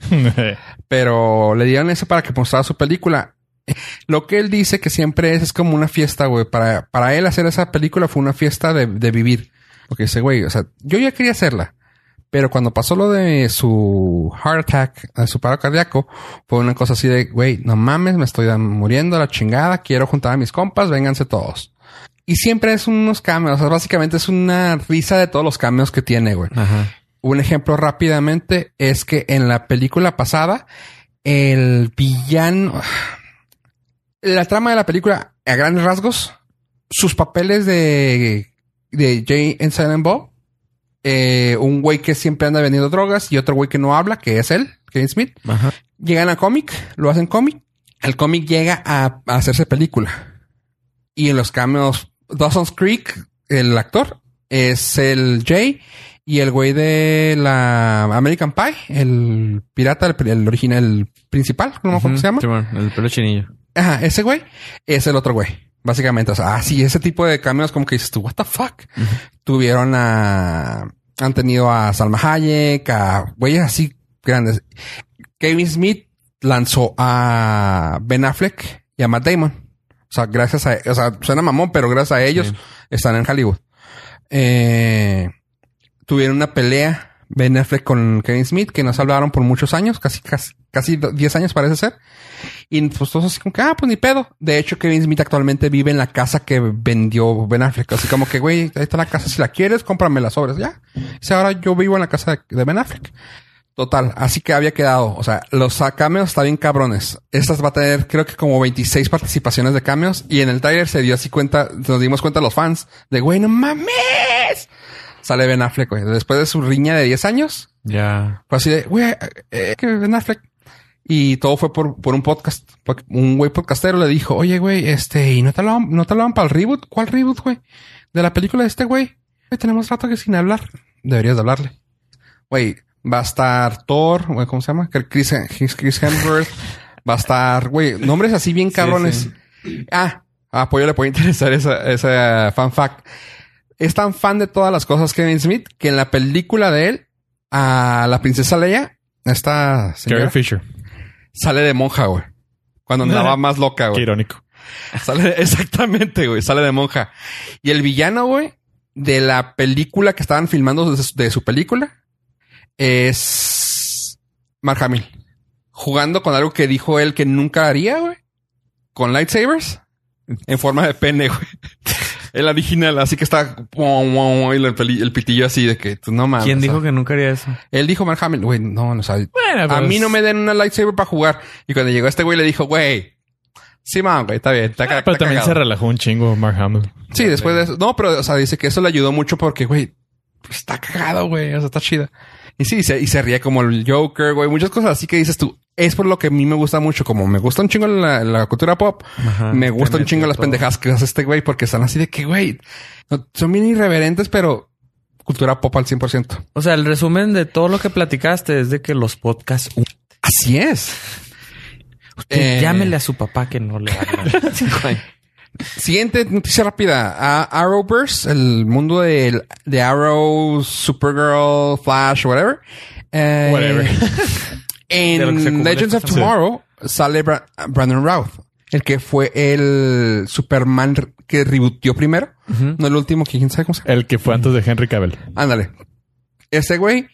pero le dieron eso para que mostrara su película. [laughs] Lo que él dice que siempre es, es como una fiesta, güey. Para, para él hacer esa película fue una fiesta de, de vivir. Porque dice, güey, o sea, yo ya quería hacerla. Pero cuando pasó lo de su heart attack, eh, su paro cardíaco, fue una cosa así de, güey, no mames, me estoy dan- muriendo a la chingada, quiero juntar a mis compas, vénganse todos. Y siempre es unos cambios, o sea, básicamente es una risa de todos los cambios que tiene, güey.
Ajá.
Un ejemplo rápidamente es que en la película pasada, el villano. La trama de la película, a grandes rasgos, sus papeles de, de Jay en Silent Bob, eh, un güey que siempre anda vendiendo drogas y otro güey que no habla, que es él, Kevin Smith,
Ajá.
llegan a cómic, lo hacen cómic, el cómic llega a, a hacerse película. Y en los cambios, Dawson's Creek, el actor, es el Jay y el güey de la American Pie, el pirata, el, el original, el principal, no me acuerdo cómo
Ujú.
se llama.
Simón, el pelo chinillo.
Ajá, ese güey es el otro güey. Básicamente, o sea, así, ese tipo de cambios como que dices tú, what the fuck. Tuvieron a, han tenido a Salma Hayek, a güeyes así grandes. Kevin Smith lanzó a Ben Affleck y a Matt Damon. O sea, gracias a, o sea, suena mamón, pero gracias a ellos
Sí.
están en Hollywood. Eh, tuvieron una pelea Ben Affleck con Kevin Smith, que nos hablaron por muchos años, casi, casi, casi 10 años parece ser. Y pues todos así como que, ah, pues ni pedo. De hecho, Kevin Smith actualmente vive en la casa que vendió Ben Affleck. Así como que, güey, ahí está la casa. Si la quieres, cómprame las obras. Ya. Dice, ahora yo vivo en la casa de Ben Affleck. Total. Así que había quedado. O sea, los cameos están bien cabrones. Estas va a tener, creo que como 26 participaciones de cameos. Y en el trailer se dio así cuenta, nos dimos cuenta los fans de, güey, no mames. Sale Ben Affleck, güey. Después de su riña de 10 años,
Ya.
fue así de, güey, eh, que Ben Affleck. Y todo fue por, por un podcast. Porque Un güey podcastero le dijo, oye, güey, este, ¿y no te hablaban, no te hablaban para el reboot? ¿Cuál reboot, güey? De la película de este güey. Güey, Tenemos rato que sin hablar. Deberías de hablarle. Güey, va a estar Thor, güey, ¿cómo se llama? Que el Chris, Chris Hemsworth. va a estar, güey, nombres así bien cabrones. Ah, a Apoyo le puede interesar esa, esa fan fact. Es tan fan de todas las cosas Kevin Smith que en la película de él, a la princesa Leia, esta señora,
Carrie Fisher.
sale de monja, güey. Cuando andaba más loca,
Qué
güey.
irónico.
Sale, [laughs] exactamente, güey. Sale de monja. Y el villano, güey, de la película que estaban filmando de su, de su película es Mark Hamill. Jugando con algo que dijo él que nunca haría, güey. Con lightsabers en forma de pene, güey. [laughs] El original, así que está y el, peli- el pitillo así de que tú no mames.
¿Quién
o sea,
dijo que nunca haría eso?
Él dijo Mark Hamill, güey, no, no sabe.
Bueno,
A
pues,
mí no me den una lightsaber para jugar. Y cuando llegó este güey le dijo, güey, sí, man, güey, está bien. Está, ca-
ah, Pero
está
también
cagado".
se relajó un chingo Mark Hamill.
Sí, después de eso. No, pero, o sea, dice que eso le ayudó mucho porque, güey, pues, está cagado, güey. O sea, está chida. Y sí, se, y se ríe como el Joker, güey. Muchas cosas así que dices tú. Es por lo que a mí me gusta mucho. Como me gusta un chingo la, la cultura pop,
Ajá,
me gusta
te
un chingo
metió
las
todo.
pendejadas que hace este güey porque están así de que, güey, no- son bien irreverentes, pero cultura pop al 100%.
O sea, el resumen de todo lo que platicaste es de que los podcasts... u-
Así es.
Usted
Eh.
Llámele a su papá que no le habla. Sí, güey.
Siguiente noticia rápida. A- Arrowverse, el mundo del- de, Arrow, Supergirl, Flash, whatever. Eh,
Whatever.
[laughs] En
De lo que se cubre
Legends of
esta
Tomorrow sale Bra- Brandon Routh, el que fue el Superman re- que rebootió primero. No el último, que quién sabe cómo se llama.
El que fue antes de Henry Cavill.
Ándale. Este güey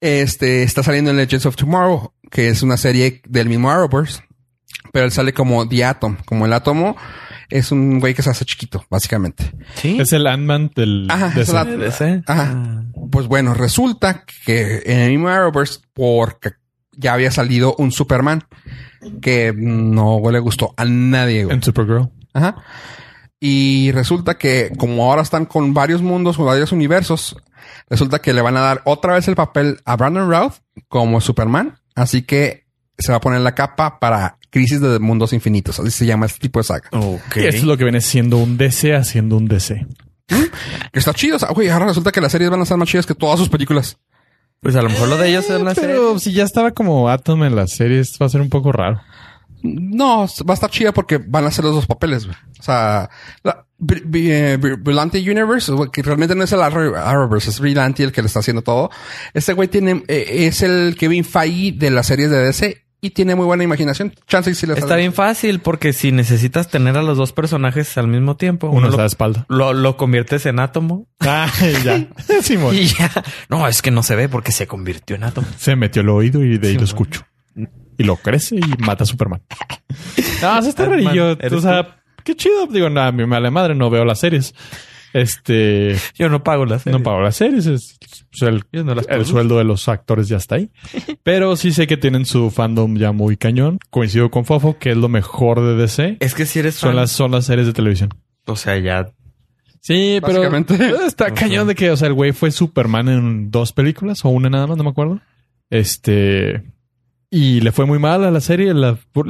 este, está saliendo en Legends of Tomorrow, que es una serie del mismo Arrowverse. Pero él sale como The Atom. Como el átomo es un güey que se hace chiquito, básicamente.
Sí.
Es el Ant-Man del...
Ajá,
de
es
ese-
la-
Ese. Ah.
Ajá. Pues bueno, resulta que en el mismo Arrowverse, porque ya había salido un Superman que no le gustó a nadie. güey.
en Supergirl.
Ajá. Y resulta que, como ahora están con varios mundos, con varios universos, resulta que le van a dar otra vez el papel a Brandon Routh como Superman. Así que se va a poner la capa para Crisis de Mundos Infinitos. Así se llama este tipo de saga.
Ok.
Y esto es lo que viene siendo un DC haciendo un DC.
Que está chido. O sea, güey, ahora resulta que las series van a estar más chidas que todas sus películas.
Pues a lo mejor lo de ellos es una serie.
Pero si ya estaba como Atom en las series, va a ser un poco raro.
No, va a estar chida porque van a hacer los dos papeles, güey. O sea, la, Br- Br- eh, Br- Brillante Universe, güey, que realmente no es el Arrow- Arrowverse, es Brillante el que le está haciendo todo. Este güey tiene, eh, es el Kevin Feige de las series de DC y tiene muy buena imaginación. Chance y si le
Está
sale.
bien fácil porque si necesitas tener a los dos personajes al mismo tiempo,
Uno
uno
está de
lo,
espalda.
lo, lo conviertes en átomo
Ah, [laughs] ya. Simón.
y ya. No, es que no se ve porque se convirtió en átomo.
Se metió el oído y de ahí
Simón.
lo escucho. Y lo crece y mata a Superman. No, eso está
Batman,
rarillo.
¿eres
O sea, qué chido. Digo, nada, a mí me vale madre, no veo las series. Este,
Yo no pago las
no pago las series. es- o sea, el,
Yo no las
el
produzco.
sueldo de los actores ya está ahí. Pero sí sé que tienen su fandom ya muy cañón. Coincido con Fofo, que es lo mejor de DC.
Es que si eres
Son
fan,
las, son las series de televisión.
o sea, ya
Sí, pero
[laughs]
Básicamente.
Pues está cañón de que, o sea, el güey fue Superman en dos películas o una nada más, no me acuerdo. Este y le fue muy mal a la serie. la- por-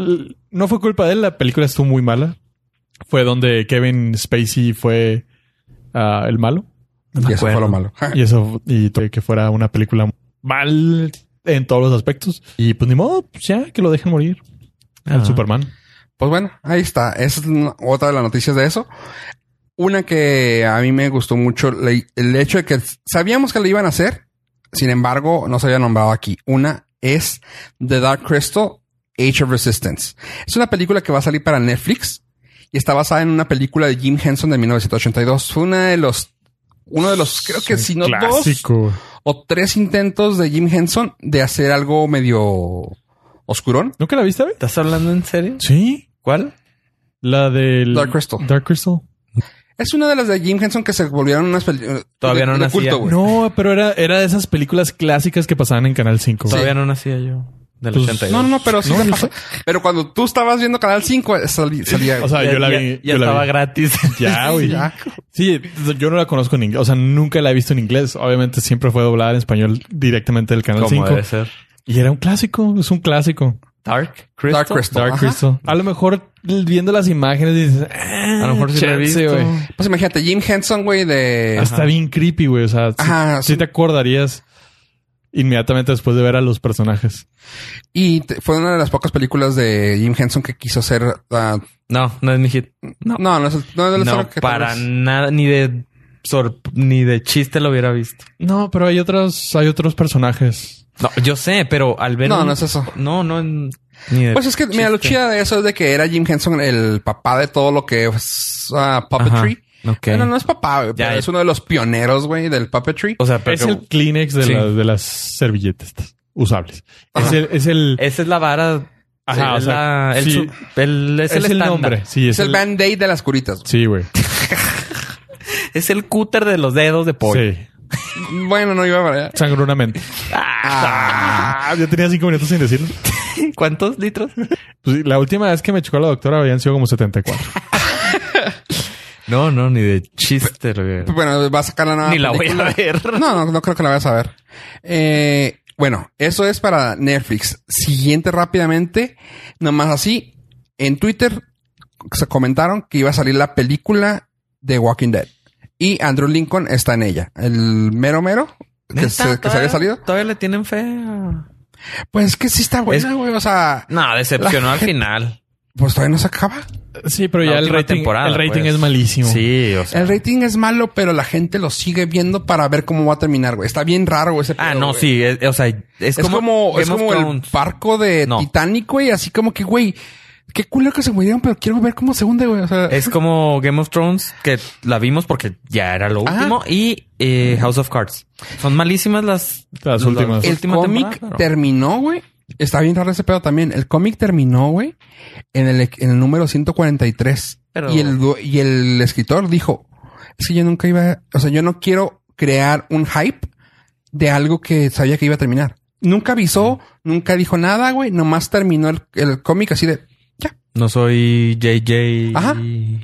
no fue culpa de él, la película estuvo muy mala. Fue donde Kevin Spacey fue ah, el malo
me
Y eso fue
acuerdo.
lo malo. [laughs]
y eso y to- que fuera una película mal en todos los aspectos. Y pues ni modo, pues, ya que lo dejen morir al
Ah.
Superman.
Pues bueno, ahí está. Esa es una- otra de las noticias de eso. Una que a mí me gustó mucho, le- el hecho de que sabíamos que lo iban a hacer, sin embargo, no se había nombrado aquí. Una es The Dark Crystal, Age of Resistance. Es una película que va a salir para Netflix y está basada en una película de Jim Henson de 1982. Fue una de los uno de los, creo que
Es
si
un
no dos
clásico.
o tres intentos de Jim Henson de hacer algo medio oscurón.
¿Nunca la viste, güey?
¿Estás hablando en serio?
Sí.
¿Cuál?
La del...
Dark Crystal.
Dark Crystal.
Es una de las de Jim Henson que se volvieron unas pel- eh,
Todavía no
de- de
nacía.
culto, güey.
No, pero era, era de esas películas clásicas que pasaban en Canal 5. güey.
Pues Todavía no nacía yo. Del
Pues,
82.
No, no, no, pero sí.
No, no
pasó. Pero cuando tú estabas viendo Canal 5, salí- salía.
O sea,
Ya-
Ah, yo la
ya-
vi.
Ya
yo la
estaba
vi.
gratis.
[laughs] Ya, güey.
ya.
Sí, yo no la conozco en inglés. O sea, nunca la he visto en inglés. Obviamente siempre fue doblada en español directamente del Canal
Como
5.
debe ser.
Y era un clásico. Es un clásico.
Dark
Dark
Crystal.
Crystal.
Dark
ajá.
Crystal. A lo mejor viendo las imágenes dices... "Ah,
A lo mejor sí la he visto.
Pues imagínate, Jim Henson, güey, de.
Está bien creepy, güey. O sea, sí-
Ajá,
sí
sí.
te acordarías inmediatamente después de ver a los personajes.
Y te- fue una de las pocas películas de Jim Henson que quiso ser. ah,
No, no es mi hit.
no. no, no es el- no es de los
No,
que tal
para
vez-
nada. Ni de sor- ni de chiste lo hubiera visto.
No, pero hay otros, hay otros personajes.
No, yo sé, pero al ver.
No,
un-
no es eso.
No, no. en- Ni de
Pues es que, mira, lo
chiste.
chida de eso es de que era Jim Henson el papá de todo lo que es ah,
Ajá.
puppetry.
Ok.
Bueno, no es papá, güey,
Ya,
pero
ya.
es uno de los pioneros, güey, del puppetry.
O sea, pero.
Es el Kleenex de,
Sí.
la- de las servilletas usables. Es
Ajá.
el, es el,
Esa es la vara.
Ajá,
sí,
o
es
sea,
la- el
sí.
su- el- es,
es
el,
el
estándar.
nombre. Sí,
es,
es,
el,
el,
band-aid de las curitas. güey.
Sí, güey.
Es el cúter de los dedos de pollo.
Sí.
Bueno, no iba a variar.
Sangronamente. [laughs] Ah, yo tenía cinco minutos sin decirlo.
[laughs]
¿Cuántos litros?
Pues sí, la última vez que me chocó la doctora habían sido como 74.
No, no, ni de chiste. lo hubiera-
Pues Bueno, va a sacar la nueva.
Ni la voy
Ah, película.
a ver.
No, no, no creo [laughs] que la vayas a ver. Eh, bueno, eso es para Netflix. Siguiente rápidamente, nomás así, en Twitter se comentaron que iba a salir la película de Walking Dead. Y Andrew Lincoln está en ella. El mero mero que,
¿Neta?
se, que se
¿Todavía-
había salido.
Todavía le tienen fe. a-
Pues es que sí está buena, güey. O sea,
No, decepcionó
La
al final.
pues todavía no se acaba.
Sí, pero
La
ya el
última
rating,
temporada,
el rating
pues.
es malísimo.
Sí, o sea.
El rating es malo, pero la gente lo sigue viendo para ver cómo va a terminar, güey. Está bien raro ese
Ah,
pedo,
no,
güey.
sí. es- o sea, es,
Es, como, es
Game of
como el
Thrones.
barco de
No.
Titanic, güey. Así como que, güey, qué culero que se murieron, pero quiero ver cómo se hunde, güey. O sea,
Es como Game of Thrones, que la vimos porque ya era lo
Ajá.
último. Y eh, House of Cards. Son malísimas las...
Las últimas.
el
última
cómic
temporada, pero-
terminó, güey. Está bien raro ese pedo también. El cómic terminó, güey, en el, en el número 143.
Pero-
Y, el, du- y el escritor dijo, es que yo nunca iba, a- o sea, yo no quiero crear un hype de algo que sabía que iba a terminar. Nunca avisó,
Mm.
nunca dijo nada, güey. Nomás terminó el, el cómic así de, ya,
No soy JJ...
Ajá.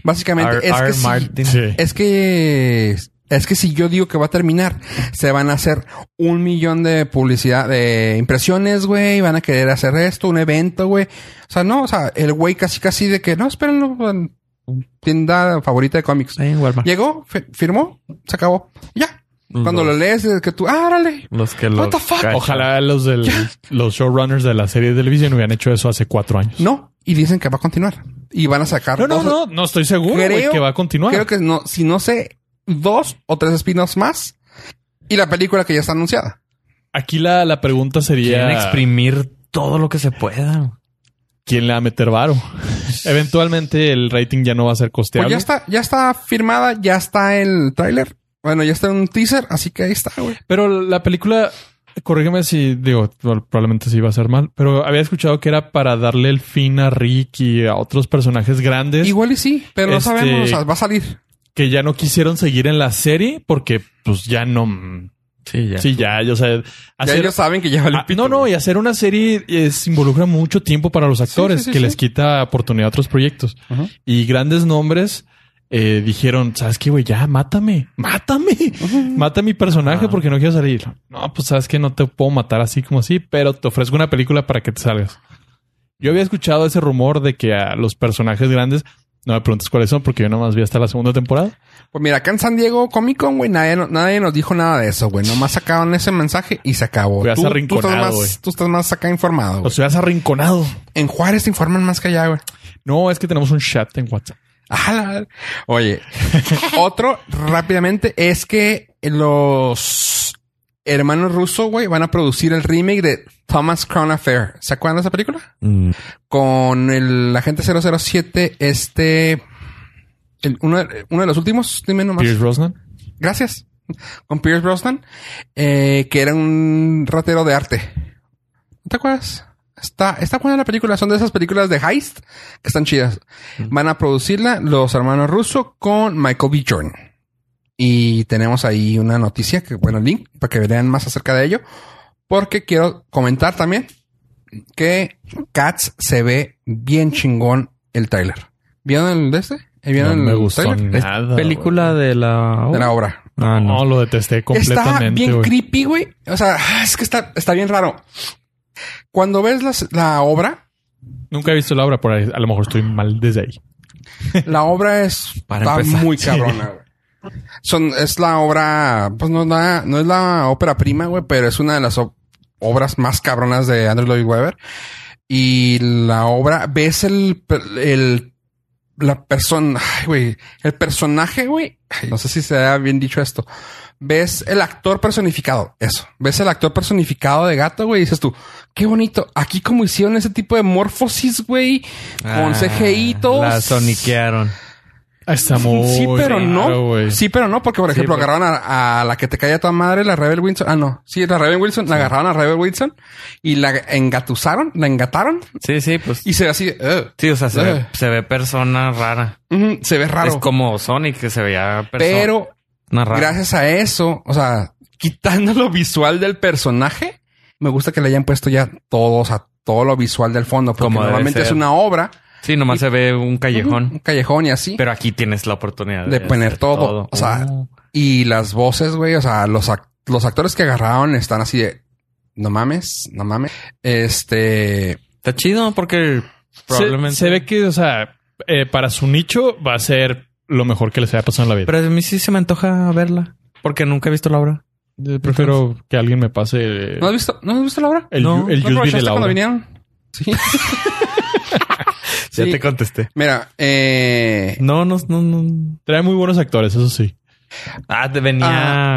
básicamente.
R.
es
R.
que sí.
Martin.
Sí.
Es que es que si yo digo que va a terminar, se van a hacer un millón de publicidad, de impresiones, güey, van a querer hacer esto, un evento, güey. O sea, no, o sea, el güey casi casi de que no, espérenlo, en tienda favorita de cómics.
Ahí en Walmart.
Llegó, fi- firmó, se acabó. Ya. Cuando
Los-
lo lees, es que tú, ah, órale.
Los que lo...
What the fuck?
Ojalá los del, los showrunners de la serie de televisión hubieran hecho eso hace cuatro años.
No, y dicen que va a continuar. Y van a sacar
No, no,
dos-
no, no estoy seguro güey,
Creo-
que va a continuar.
Creo que no, si no sé, dos o tres spin-offs más y la película que ya está anunciada.
Aquí la, la pregunta
Quieren
sería
exprimir todo lo que se pueda.
quién le va a meter [laughs] varo. Eventualmente el rating ya no va a ser costeable.
Pues ya está, ya está firmada, ya está el tráiler. Bueno, ya está un teaser, así que ahí está, güey.
Pero la película, corrígeme si digo, probablemente sí iba a ser mal, pero había escuchado que era para darle el fin a Rick y a otros personajes grandes
Igual y sí, pero
este-
no sabemos, o sea, va a salir.
que ya no quisieron seguir en la serie porque pues ya no...
Sí, ya.
Sí, ya, yo sé.
Ya ellos saben que ya valió
Ah,
pito,
no, no,
güey.
y hacer una serie es, involucra mucho tiempo para los actores,
sí, sí,
que
sí.
les quita oportunidad a otros proyectos.
Ajá.
Y grandes nombres eh, dijeron, ¿sabes qué, güey? Ya, mátame, mátame, mata a mi personaje
Ajá.
porque no quiero salir. No, pues sabes que no te puedo matar así como así, pero te ofrezco una película para que te salgas. Yo había escuchado ese rumor de que a los personajes grandes, no me preguntes cuáles son, porque yo nomás vi hasta la segunda temporada.
Pues mira, acá en San Diego Comic Con, güey, nadie, no- nadie nos dijo nada de eso, güey. Nomás sacaron ese mensaje y se acabó.
Güey, has
estás
arrinconado, güey. Pues
más, tú estás más acá informado.
O
güey.
sea, has arrinconado.
En Juárez te informan más que allá, güey.
No, es que tenemos un chat en WhatsApp.
[laughs] A la madre. Oye, otro rápidamente es que los hermanos rusos, güey, van a producir el remake de Thomas Crown Affair. ¿Se acuerdan de esa película?
Mm.
Con el agente 007, este. el- uno, de- uno de los últimos, dime nomás.
Pierce Brosnan.
Gracias. con Pierce Brosnan, eh, que era un ratero de arte. ¿No te acuerdas? Está, está buena la película. Son de esas películas de heist que están chidas. Van a producirla los hermanos Russo con Michael B. Jordan. Y tenemos ahí una noticia que, bueno, link para que vean más acerca de ello. Porque quiero comentar también que Cats se ve bien chingón el trailer. ¿Vieron el de este? ¿Eh,
No
¿Vieron
me
el
gustó
tráiler?
Es
nada.
película de la...
de la obra?
Ah,
güey.
no.
No, lo detesté completamente.
Está bien
güey.
creepy, güey. O sea, es que está, está bien raro. Cuando ves las- la obra,
Nunca he visto la obra por ahí. A lo mejor estoy mal desde ahí.
la obra es
Para
está
empezar,
muy
sí.
cabrona, güey. Son, es la obra, pues no es la, no es la ópera prima, güey, pero es una de las o- obras más cabronas de Andrew Lloyd Webber. Y la obra, ves el, el, la persona, ay, güey, el personaje, güey, ay, no sé si se ha bien dicho esto. Ves el actor personificado, eso. Ves el actor personificado de gato, güey, y dices tú, qué bonito. Aquí como hicieron ese tipo de morfosis, güey, con
Ah,
CGI y todo.
La soniquearon.
Está muy
Sí, pero
raro,
no.
güey.
Sí, pero no, porque por ejemplo
pero-
agarraron a, a la que te cae a tu madre, la Rebel Wilson. Ah, no. Sí, la Rebel Wilson, la agarraron a Rebel Wilson y la engatusaron, la engataron
Sí, sí, pues...
y se ve así. "Ugh".
Sí, o sea, se, ve,
Eh.
se ve persona rara.
Ujú, se ve raro.
Es como Sonic, que se veía persona
pero
rara.
gracias a eso, o sea, quitando lo visual del personaje, me gusta que le hayan puesto ya todos a todo lo visual del fondo, porque
Como debe
normalmente
ser.
es una obra,
Sí, nomás se ve un callejón.
un callejón y así.
Pero aquí tienes la oportunidad
De poner
hacer
todo. O sea,
Oh.
Y las voces, güey, o sea, los, ac- los actores que agarraron están así de... No mames, no mames. Este...
está chido porque
Se,
probablemente.
se ve que, o sea, eh, para su nicho va a ser lo mejor que les haya pasado en la vida.
Pero a mí sí se me antoja verla porque nunca he visto la obra.
Yo prefiero que alguien me pase eh,
¿No has visto, ¿no has visto la obra?
el,
No,
el
¿No
USB
aprovechaste
de la
cuando
obra.
vinieron?
[laughs]
Sí. Sí.
contesté.
Mira, eh...
No, no, no, no.
Trae muy buenos actores, eso sí.
Ah, te venía.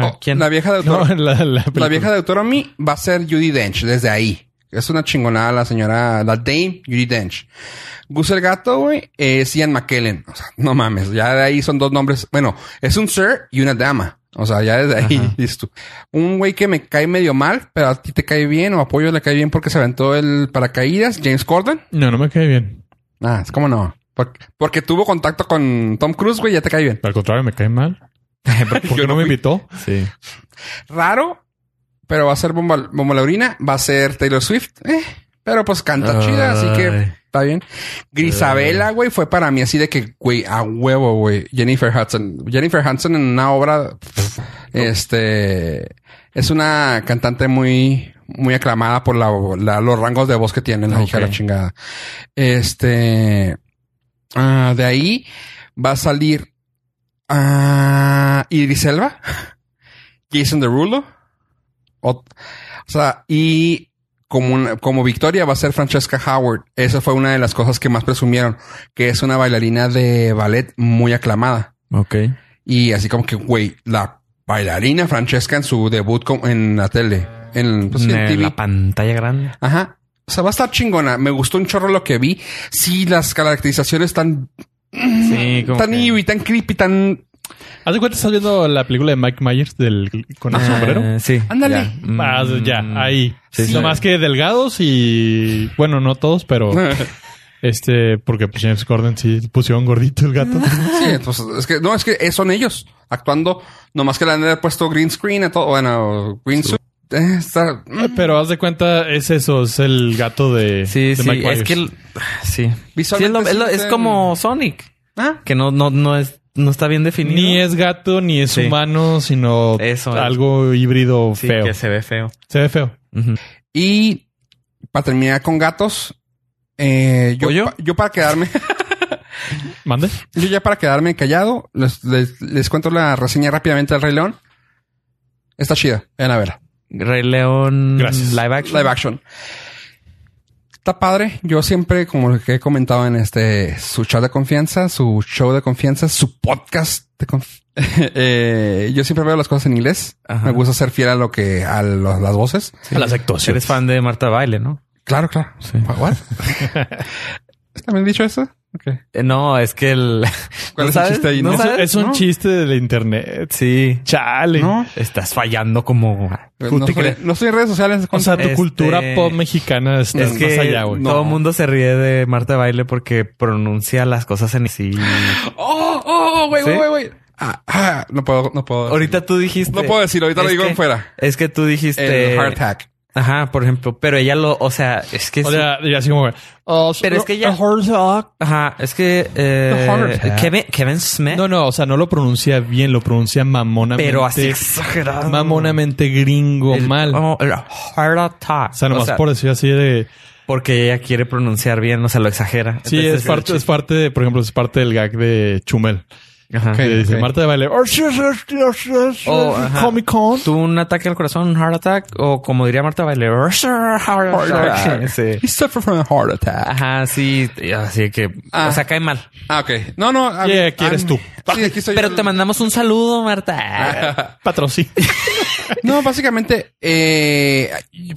ah, oh,
¿Quién?
La vieja de
No,
Deuteronomy,
[laughs] la, la
la
película.
vieja de Deuteronomy va a ser Judy Dench desde ahí. Es una chingonada la señora, la Dame Judy Dench. Gus el Gato, güey, es Ian McKellen. O sea, no mames, ya de ahí son dos nombres. Bueno, es un sir y una dama. O sea, ya desde ahí,
Ajá.
[laughs] listo. Un güey que me cae medio mal, pero a ti te cae bien o apoyo le cae bien porque se aventó el paracaídas, James Corden.
No, no me cae bien.
Ah, es como no. Por- Porque tuvo contacto con Tom Cruise, güey, ya te cae bien.
Al contrario, me cae mal. ¿Por qué no me invitó?
Sí.
raro, pero va a ser Bomba, Bomba Laurina, va a ser Taylor Swift, eh, pero pues canta
Ay.
chida, así que está bien. Grisabela, güey, fue para mí así de que, güey, a huevo, güey. Jennifer Hudson. Jennifer Hudson en una obra, pff, este, es una cantante muy, muy aclamada por la, la- los rangos de voz que tiene la hija de la
Ok.
chingada. Este, ah, de ahí va a salir ah, Idris Elba, [laughs] Jason Derulo, o, o sea, y como, una- como Victoria va a ser Francesca Howard. Esa fue una de las cosas que más presumieron, que es una bailarina de ballet muy aclamada.
Ok.
Y así como que, güey, la bailarina Francesca en su debut con- en la tele, en, pues, en
En
TV.
la pantalla grande.
Ajá. O sea, va a estar chingona. Me gustó un chorro lo que vi. Sí, las caracterizaciones están
Sí, como.
tan
que-
y tan creepy, tan.
Haz de cuenta, estás viendo la película de Mike Myers del, con el
Ah,
sombrero.
Sí.
Ándale.
Ya. Mm.
Ah, Eh, ya, ahí.
Sí, sí.
no más que delgados y. Bueno, no todos, pero.
[laughs] sí,
este, porque pues, James Corden sí pusieron gordito el gato.
pues es que no, es que son ellos actuando. Nomás que le han puesto green screen a todo. Bueno, green suit. Eh, está-
[laughs] pero haz de cuenta, es eso, es el gato de.
Sí,
de
sí.
Mike
Es
Myers.
que. el- Sí. Sí, es,
Visualmente
lo- es lo-
sí
es
se-
como Sonic.
Ah,
que no, no, no es, no está bien definido.
Ni es gato, ni es
Sí.
humano, sino
Eso es.
algo híbrido
Sí,
feo.
que se ve feo.
Se ve feo.
Y para terminar con gatos, eh, yo,
¿Pollo?
pa- yo para quedarme,
¿Mande?
yo ya para quedarme callado, les, les- les cuento la reseña rápidamente del Rey León. Está chida, ven a verla.
Rey León
Gracias.
live action.
Live action. Está padre. Yo siempre, como lo que he comentado en este, su chat de confianza, su show de confianza, su podcast de conf- [laughs] Eh, yo siempre veo las cosas en inglés.
Ajá.
Me gusta ser fiel a lo que, a lo- las voces.
A las actuaciones.
Eres fan de Marta Baile, ¿no?
Claro, claro.
Sí.
What? ¿Está bien dicho eso? Ok.
Eh, No, es que el.
¿Cuál
[laughs] ¿No
es el
sabes?
chiste ahí?
¿No
No,
Es,
sabes?
es un
¿No?
chiste del internet.
Sí.
Chale.
no,
Estás fallando como.
no, soy, no soy en redes sociales.
O sea, tu
Este-
cultura pop mexicana está
Es que
Pues más allá, güey.
todo
No.
el mundo se ríe de Marta de Baile porque pronuncia las cosas en sí.
oh, oh, güey,
¿Sí?
güey, güey, güey. Ah, ah, no puedo, no puedo.
Ahorita tú dijiste.
decirlo. no puedo decirlo. Ahorita lo
es
digo
que- este,
en fuera.
Es que tú dijiste.
El hard hack.
Ajá, por ejemplo. Pero ella lo. O sea, es que.
O
sí-
sea, y así como... oh,
Pero es que ya-
a hard rock.
Ajá, es que. eh,
The hard hack.
Kevin, Kevin Smith.
No, no, o sea, no lo pronuncia bien, lo pronuncia mamonamente.
pero así exagerado.
Mamonamente gringo,
El-
mal.
oh, el hard attack.
O sea, nomás por decir así de...
Porque ella quiere pronunciar bien, o sea, lo exagera.
Sí,
Entonces,
es parte, es parte de, por ejemplo, es parte del gag de Chumel.
Ajá.
Que
Ok,
dice
ok.
Marta de Baile. "Oh,
O, Oh, ajá.
Comic Con.
Tuvo un ataque al corazón, un heart attack, o como diría Marta Baile, heart attack. [laughs] Sí.
He suffered from a heart attack.
Ajá, sí, así que,
Ah.
o sea, cae mal.
Ah, ok. No, no. a mí-
Yeah, aquí eres
a
tú.
mí- Sí, aquí soy
Pero
yo.
te mandamos un saludo, Marta.
Patrocín.
No, básicamente eh,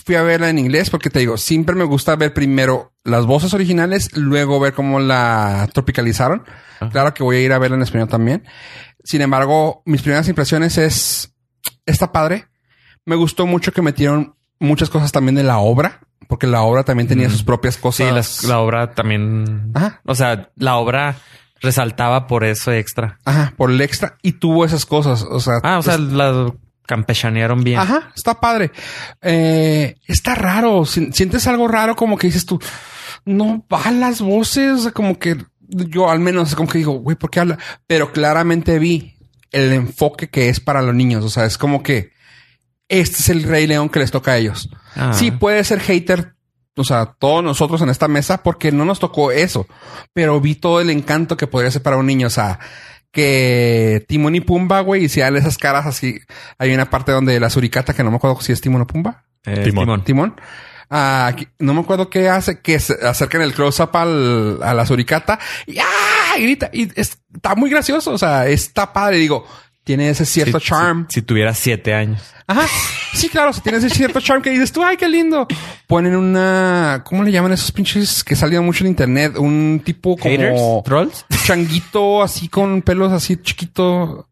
fui a verla en inglés porque te digo, siempre me gusta ver primero las voces originales, luego ver cómo la tropicalizaron. Claro que voy a ir a verla en español también. Sin embargo, mis primeras impresiones es, está padre. Me gustó mucho que metieron muchas cosas también de la obra, porque la obra también tenía sus propias
Sí,
cosas.
las- la obra también.
Ajá.
O sea, la obra resaltaba por eso extra.
Ajá, por el extra y tuvo esas cosas. O sea,
Ah, o sea, la campechanearon bien.
Ajá, está padre. Eh, está raro. si- Sientes algo raro como que dices tú, no va las voces, o sea, como que yo al menos como que digo, güey, ¿por qué habla? Pero claramente vi el enfoque que es para los niños. O sea, es como que este es el Rey León que les toca a ellos.
Ah.
Sí, puede ser hater. O sea, todos nosotros en esta mesa, porque no nos tocó eso, pero vi todo el encanto que podría ser para un niño. O sea, que Timón y Pumba, güey, y si dan esas caras así. Hay una parte donde la suricata, que no me acuerdo si es Timón o Pumba,
Eh,
Timón.
Timón.
pues, Timón. Ah, que- no me acuerdo qué hace, que se acercan el close-up al- a la suricata y ¡ah! grita. Y es- está muy gracioso. O sea, está padre. Digo, tiene ese cierto
Si-
charm.
Si, si tuviera siete años.
Ajá. Sí, claro, si tienes ese cierto charm que dices tú, ay, qué lindo. Ponen una, ¿cómo le llaman esos pinches que salían mucho en internet? Un tipo
Haters,
como
trolls.
changuito así con pelos así chiquito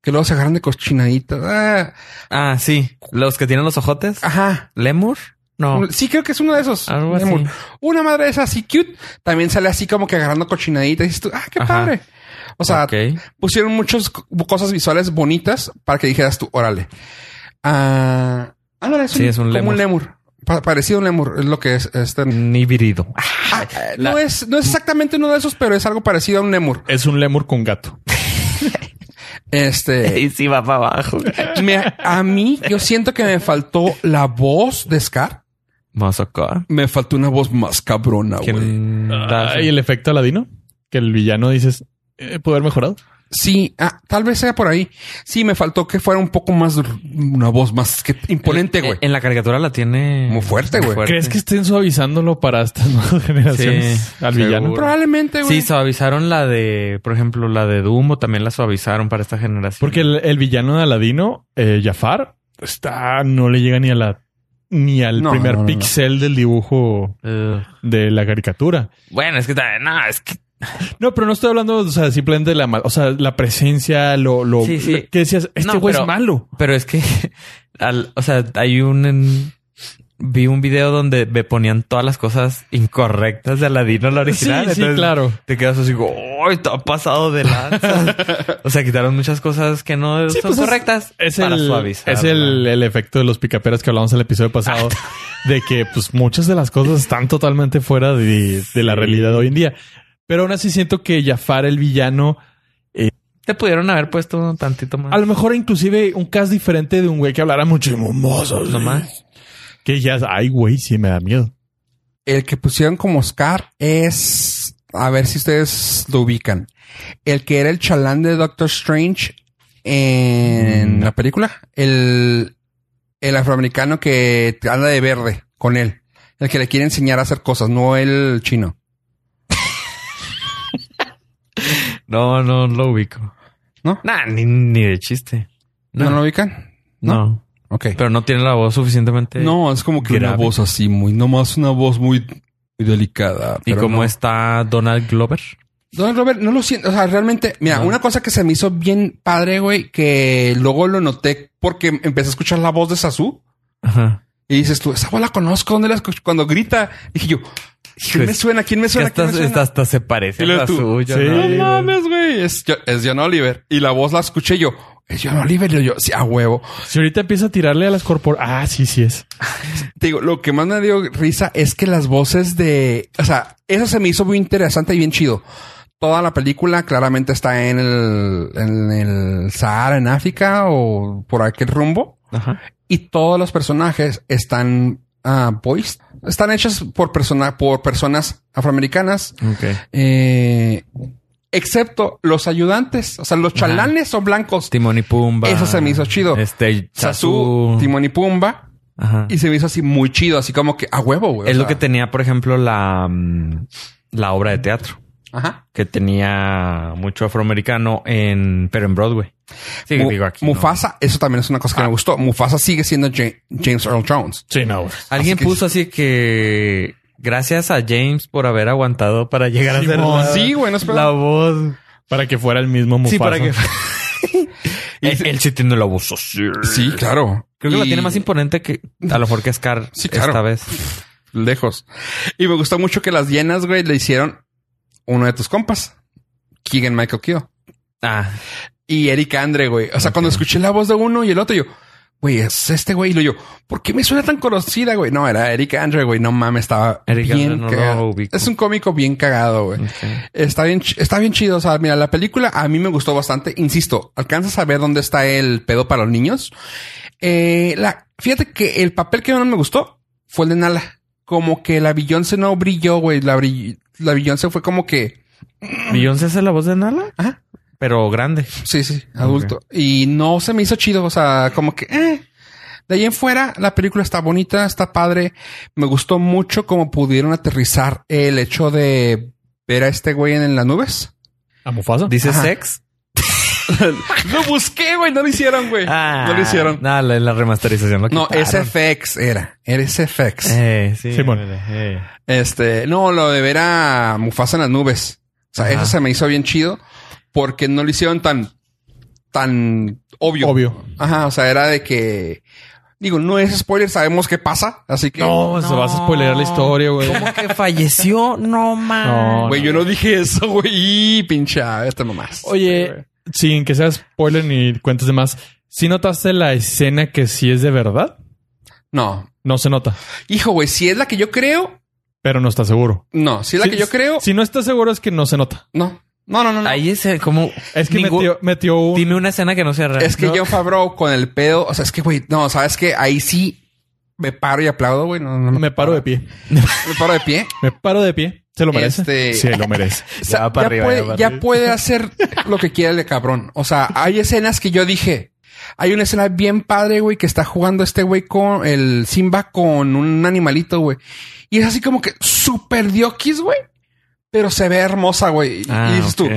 que luego se agarran de cochinadita. Ah,
Ah, sí. Los que tienen los ojotes.
ajá.
Lemur. No.
Sí, creo que es uno de esos.
Algo así.
Lemur. Una madre esa así cute también sale así como que agarrando cochinadita y dices tú, ah, qué
Ajá.
padre. O sea,
Ok.
pusieron muchas co- cosas visuales bonitas para que dijeras tú, órale. Ah, ándale, es
Sí,
un,
es un
como
lemur.
un lemur. Pa- parecido a un lemur, es lo que es. este. [laughs]
Un híbrido.
Ah,
la-
no, es, no es exactamente uno de esos, pero es algo parecido a un lemur.
Es un lemur con gato.
[laughs]
Este,
sí va para abajo.
me- a mí, yo siento que me faltó la voz de Scar.
Vamos acá.
Me faltó una voz más cabrona, güey.
¿Quién da-
Ah, y el efecto aladino. Que el villano dices... Eh, ¿Pudo haber mejorado?
Sí, ah, tal vez sea por ahí. Sí, me faltó que fuera un poco más, r- una voz más que imponente, güey.
En, en la caricatura la tiene
Muy fuerte, güey.
¿Crees que estén suavizándolo para estas nuevas [laughs] generaciones?
Sí,
al villano.
seguro.
Probablemente, güey.
Sí, suavizaron la de, por ejemplo, la de Dumbo también la suavizaron para esta generación.
Porque el, el villano de Aladino, eh, Jafar, está, no le llega ni a la ni al
No,
primer
no, no, no.
pixel del dibujo
Ugh.
de la caricatura.
bueno, es que también, no, es que
No, pero no estoy hablando, o sea, simplemente de la mal- o sea, la presencia, lo, lo
Sí, sí.
que decías, este
No,
güey
pero-
es malo.
Pero es que, [laughs] al- o sea, hay un... en- vi un video donde me ponían todas las cosas incorrectas de Aladino, la
Sí,
original.
sí,
entonces
claro.
Te quedas así, como, ¡ay, está pasado
[laughs]
de lanza! o sea, quitaron muchas cosas que no
Sí,
son
pues es-
correctas
Es
para
el,
suavizar.
es el, el efecto de los picaperas que hablamos en el episodio pasado, de que pues muchas de las cosas están totalmente fuera de, de la realidad hoy en día. Pero aún así siento que Jafar, el villano,
Te pudieron haber puesto un tantito más.
A lo mejor inclusive un cast diferente de un güey que hablara mucho de momosas.
No más.
Que ya, ay, güey, sí me da miedo.
El que pusieron como Scar es. A ver si ustedes lo ubican. El que era el chalán de Doctor Strange
Mm.
en la película. El, el afroamericano que anda de verde con él. El que le quiere enseñar a hacer cosas, no el chino.
No, no lo ubico.
¿No?
Nah, ni, ni de chiste.
¿No,
No,
lo
no,
ubican? ¿No? Ok.
Pero no tiene la voz suficientemente.
No, es como que una
grave.
voz así, muy, nomás una voz muy muy delicada.
¿Y
pero
cómo
no.
está Donald Glover?
Donald Robert, no lo siento. O sea, realmente, mira,
No.
una cosa que se me hizo bien padre, güey, que luego lo noté porque empecé a escuchar la voz de Sasu.
Ajá.
Y dices tú, esa voz la conozco, ¿dónde la escucho? Cuando grita, dije yo, ¿quién
Pues,
me suena? ¿Quién me
Que
suena?
hasta,
¿Quién me suena?
hasta- hasta se parece
Y
a
luego
la
tú,
suya.
sí.
¿no?
No
Oliver.
mames, güey. Es, Jo- es John Oliver. Y la voz la escuché yo. Es John Oliver. Y yo, sí, a huevo.
Si ahorita empieza a tirarle a las corpor... Ah, sí, sí es.
Te digo, lo que más me dio risa es que las voces de... O sea, eso se me hizo muy interesante y bien chido. Toda la película claramente está en el, en el Sahara, en África o por aquel rumbo.
Ajá.
Y todos los personajes están ah, voiced. Están hechos por, persona, por personas afroamericanas
Ok.
Eh, excepto los ayudantes, o sea, los
Ajá.
chalanes son blancos.
Timón y Pumba.
Eso se me hizo chido.
Este,
Sasu,
Sasu.
Timón y Pumba.
Ajá.
Y se me hizo así muy chido, así como que a huevo, güey. o
Es lo
sea,
que tenía, por ejemplo, la, mm, la obra de teatro.
Ajá.
que tenía mucho afroamericano en, pero en Broadway. Sí,
Mu-
digo aquí. ¿no? Ah.
Mufasa, eso también es una cosa que me gustó. Mufasa sigue siendo Ja- James Earl Jones.
Sí, no.
Alguien
Así que-
puso así que gracias a James por haber aguantado para llegar a ser
Simón.
la,
Sí, güey, no es
la voz.
Para que fuera el mismo Mufasa.
Sí, para que. [laughs] él, él sí tiene la voz así.
Sí, claro.
Creo que la
Y-
tiene más imponente que a lo mejor que Scar
Sí, claro.
esta vez.
Lejos. Y me gustó mucho que las hienas, güey, le hicieron uno de tus compas. Keegan Michael Keel.
Ah,
y Eric Andre, güey. O sea, cuando escuché la voz de uno y el otro, yo, güey, es este güey. Y lo yo, ¿por qué me suena tan conocida, güey? No, era Eric Andre, güey. No mames, estaba
Eric
bien
Andre no lo
cagado.
ubico.
Es un cómico bien cagado, güey.
ok.
Está bien, ch- está bien chido. O sea, mira, la película a mí me gustó bastante. Insisto, alcanzas a ver dónde está el pedo para los niños. Eh, la, fíjate que el papel que menos me gustó fue el de Nala. Como que la Beyoncé no brilló, güey. La, brill- la Beyoncé fue como que...
Beyoncé hace la voz de Nala,
Ajá.
pero grande.
Sí, sí, adulto. Y no se me hizo chido, o sea, como que... eh. De ahí en fuera, la película está bonita, está padre. Me gustó mucho cómo pudieron aterrizar el hecho de ver a este güey en, en las nubes.
¿A Mufasa?
Dice
Ajá.
sex.
Lo busqué, güey, no lo hicieron, güey. no lo hicieron.
Nada, la, la remasterización. Ah, lo
No,
quitaron.
SFX era. Era SFX.
Eh, sí.
Simón.
mira, eh.
Este, no, lo de ver a Mufasa en las nubes. O sea,
Ajá.
eso se me hizo bien chido porque no lo hicieron tan, tan obvio.
Obvio.
Ajá, o sea, era de que. Digo, no es spoiler, sabemos qué pasa, así que.
No, se vas a spoilear la historia, güey.
¿Cómo que falleció? No man.
No,
Güey, yo no dije eso, güey. Y pincha, esta nomás.
Oye, sin que sea spoiler ni cuentes de más, ¿sí notaste la escena que sí es de verdad?
No.
No se nota,
Hijo, güey, si es la que yo creo,
pero no está seguro.
no. Si es la
Sí,
que yo creo,
Si no está seguro es que no se nota.
no. No, no, no. no.
Ahí es eh, como.
Es que
Ningún-
metió, metió un...
Dime una escena que no sea real.
Es que
No.
John Favreau con el pedo, o sea, es que, güey, no, sabes que ahí sí me paro y aplaudo, güey. No, no,
Me paro de pie.
Me paro de pie.
Me paro de pie. ¿Se lo merece?
Este-
Sí,
[laughs]
lo merece.
O sea,
va para arriba,
puede,
ya va
ya
arriba.
puede hacer lo que quiera el cabrón. O sea, hay escenas que yo dije. Hay una escena bien padre, güey, que está jugando este güey con el Simba con un animalito, güey. Y es así como que super diokis, güey. Pero se ve hermosa, güey. Y-
Ah,
y dices
ok.
tú,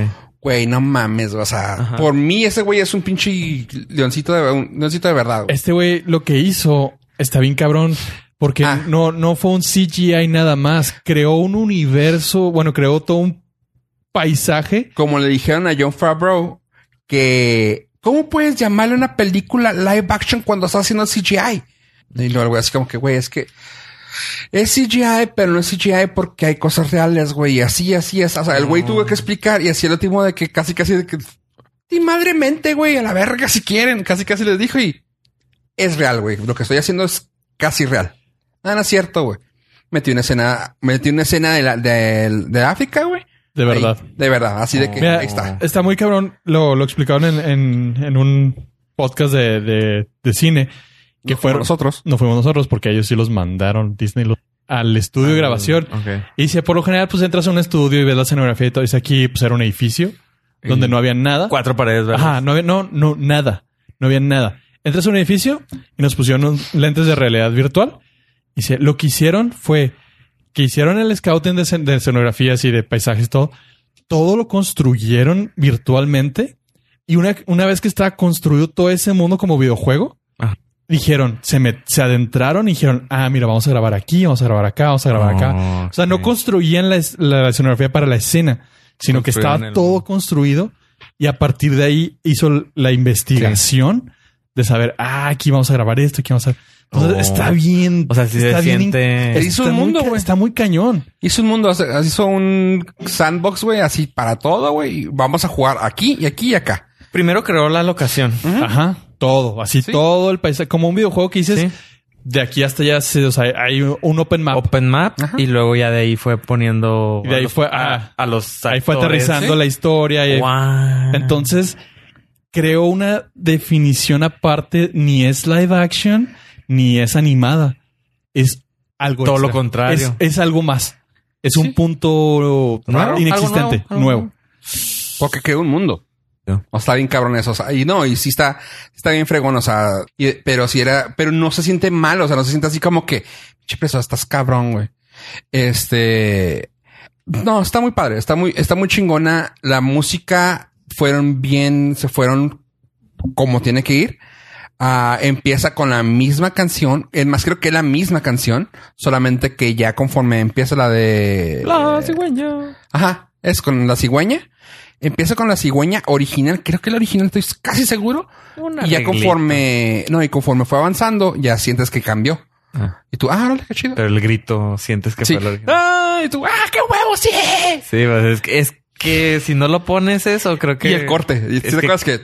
güey, no mames, güey. o sea,
Ajá.
por mí ese güey es un pinche leoncito de, un leoncito de verdad, güey.
Este güey lo que hizo está bien cabrón. Porque
Ah.
no, no fue un CGI nada más. Creó un universo. Bueno, creó todo un paisaje.
Como le dijeron a John Favreau que ¿cómo puedes llamarle una película live action cuando estás haciendo CGI? Y luego el güey así como que, güey, es que es CGI, pero no es CGI porque hay cosas reales, güey. Y así, así es. O sea, el güey tuvo que explicar y así el último de que casi, casi de que ti madre mente, güey, a la verga si quieren. Casi, casi les dijo y es real, güey. Lo que estoy haciendo es casi real. Ah, no es cierto, güey. Metí una escena, metí una escena de, la- de- de África, güey.
De verdad.
Ahí, de verdad, así de que
Mira,
ahí está.
Está muy cabrón. Lo, lo explicaron en, en- en un podcast de, de- de cine. Que
No como
fueron,
nosotros.
no fuimos nosotros porque ellos sí los mandaron Disney los- al estudio de grabación.
Ok.
Y si por lo general pues entras a un estudio y ves la escenografía y todo. Dice aquí pues era un edificio donde
Y-
no había nada.
Cuatro paredes, ¿verdad?
Ajá, no había, no, no, nada. No había nada. Entras a un edificio y nos pusieron un- lentes de realidad virtual. Y se- lo que hicieron fue que hicieron el scouting de, escen- de escenografías y de paisajes, todo. Todo lo construyeron virtualmente. Y una, una vez que estaba construido todo ese mundo como videojuego,
Ajá.
dijeron, se, me, se adentraron y dijeron, ah, mira, vamos a grabar aquí, vamos a grabar acá, vamos a grabar acá.
Oh,
O sea, no
ok.
construían la, es- la escenografía para la escena, sino que
Construyeron
estaba
el-
todo construido y a partir de ahí hizo l- la investigación de saber, ah, aquí vamos a grabar esto, aquí vamos a... Entonces,
Oh.
está bien.
O sea, sí se
está bien
siente-
Hizo
in- está
un
muy
mundo,
ca-
güey.
Está muy cañón.
Hizo un mundo, hace- hizo un sandbox, güey, así para todo, güey. y Vamos a jugar aquí y aquí y acá.
Primero creó la locación.
Ajá. Todo, así
Sí.
todo el país, como un videojuego que dices,
Sí.
de aquí hasta allá, se- o sea, hay un open map.
Open Map
Ajá.
y luego ya de ahí fue poniendo
Y de ahí
a los-
fue-
a,
ah,
a los
ahí fue
actores.
aterrizando
¿sí?
la historia. Y ahí-
Guau.
Entonces, creó una definición aparte, ni es live action, ni es animada. Es algo
Todo lo
extra.
contrario.
Es, es algo más. Es
Sí.
un punto
Raro, algo
inexistente,
nuevo, algo
nuevo.
nuevo. Porque creó un mundo.
Ya.
O está bien cabrón eso. O sea, y no, y sí está, está bien fregón. O sea, y- pero si era, pero no se siente mal. O sea, no se siente así como que, che, pero estás cabrón, güey. Este, no, está muy padre. Está muy, está muy chingona. La música fueron bien, se fueron como tiene que ir. Ah, empieza con la misma canción. Es más, creo que es la misma canción, solamente que ya conforme empieza la de.
La cigüeña.
Ajá, es con la cigüeña. Empieza con la cigüeña original, creo que la original, estoy casi seguro.
Una
y ya
reglita.
conforme, no, y conforme fue avanzando, ya sientes que cambió.
Ah,
Y tú, ah, órale, qué chido.
pero el grito sientes que
Sí.
fue el original.
Ah, y tú, ah, qué huevo, sí.
Sí, pues, es, que, es que si no lo pones eso, creo que
Y el corte. Y
es
¿Te
que-
acuerdas que?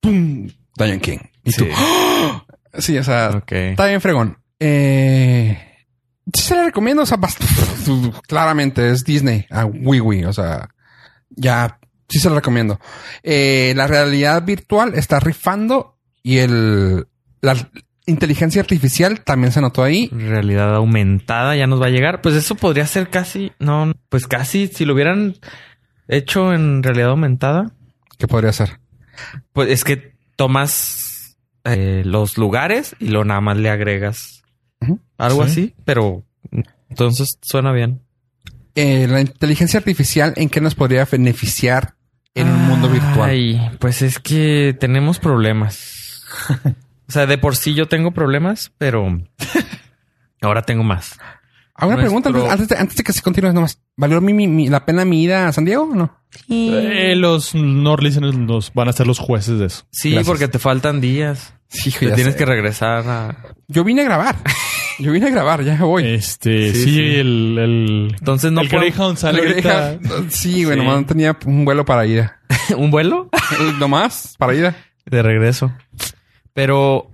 ¡Pum! Lion King. Y tú,
Sí.
¡ah! sí, o sea,
Ok.
Está bien fregón. Eh, sí se la recomiendo. O sea, bast- [laughs] claramente es Disney. A Wii Wii. O sea, ya sí se la recomiendo. Eh, la realidad virtual está rifando y el la inteligencia artificial también se notó ahí.
Realidad aumentada ya nos va a llegar. Pues eso podría ser casi, no, pues casi si lo hubieran hecho en realidad aumentada.
¿Qué podría ser?
Pues es que tomas eh, los lugares y lo nada más le agregas
Ujú.
algo
Sí.
así, pero entonces suena bien.
Eh, la inteligencia artificial en qué nos podría beneficiar en un mundo virtual.
Ay, pues es que tenemos problemas.
[laughs]
o sea, de por sí yo tengo problemas, pero ahora tengo más.
Hago una
nuestro-
pregunta antes, antes de, antes de que se continúe nomás. ¿Valió mi- mi- mi- la pena mi ida a San Diego o no?
Eh, los North listeners nos van a ser los jueces de eso.
Sí,
Gracias.
porque te faltan días.
Sí, hijo,
Te
ya
tienes
sé.
que regresar a...
Yo vine a
[laughs]
grabar. Yo vine a grabar, ya voy.
Eh,
Este,
Sí,
sí,
sí.
el, el,
Entonces no
el
puedo-
Greyhound sale
Le dije, [laughs]
ahorita.
Sí, güey,
Sí.
nomás no tenía un vuelo para
[laughs]
ir.
un vuelo
nomás para ir.
de regreso. Pero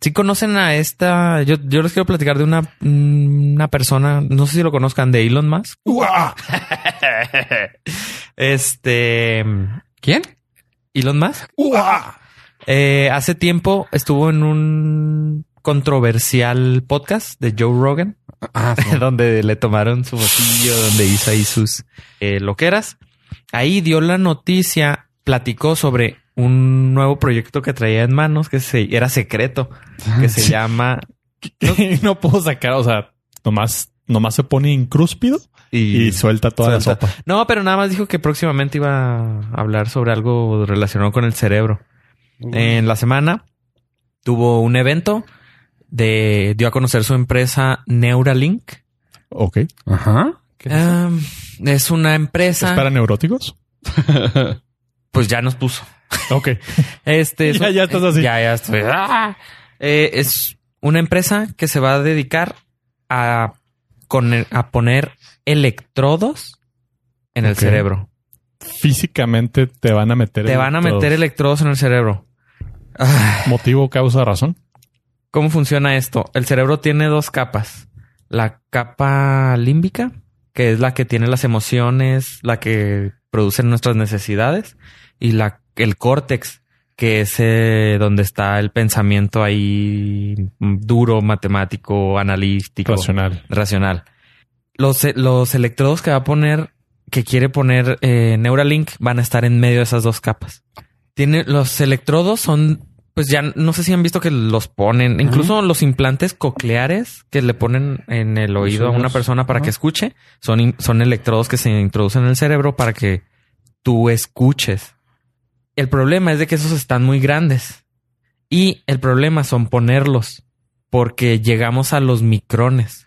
si conocen a esta, yo, yo les quiero platicar de una, mm, una persona, no sé si lo conozcan, de Elon [laughs] Musk. Este
¿Quién?
Elon Musk eh, hace tiempo estuvo en un controversial podcast de Joe Rogan,
Ah, sí.
donde le tomaron su botillo, donde hizo ahí sus eh, loqueras. Ahí dio la noticia, platicó sobre un nuevo proyecto que traía en manos que se, era secreto, [laughs] que se llama
[laughs] que no puedo sacar, o sea, nomás, nomás se pone incrúspido y, suelta toda
Suelta.
la sopa.
No, pero nada más dijo que próximamente iba a hablar sobre algo relacionado con el cerebro. En la semana tuvo un evento de dio a conocer su empresa Neuralink.
Ok. ¿Es
Ajá.
Am, Ah, es una empresa.
para neuróticos?
Pues ya nos puso.
Ok. [laughs]
Este es
Ya-
un-
ya estás así.
Ya, ya estoy. ¡Ah! Eh, es una empresa que se va a dedicar a, con- a poner electrodos en el
Ok.
cerebro.
Físicamente te van a meter.
Te van a meter
el
electrodos en el cerebro. Ah.
motivo, causa, razón.
¿Cómo funciona esto? El cerebro tiene dos capas. La capa límbica, que es la que tiene las emociones, la que produce nuestras necesidades, y la, el córtex, que es eh, donde está el pensamiento ahí mm, duro, matemático, analítico, racional.
Racional.
Los, eh, los electrodos que va a poner, que quiere poner eh, Neuralink, van a estar en medio de esas dos capas. Tiene, los electrodos son, pues ya no sé si han visto que los ponen, incluso los implantes cocleares que le ponen en el oído a una
oídos.
persona para
Ajá.
que escuche, son, in- son electrodos que se introducen en el cerebro para que tú escuches. El problema es de que esos están muy grandes Y el problema son ponerlos, porque llegamos a los micrones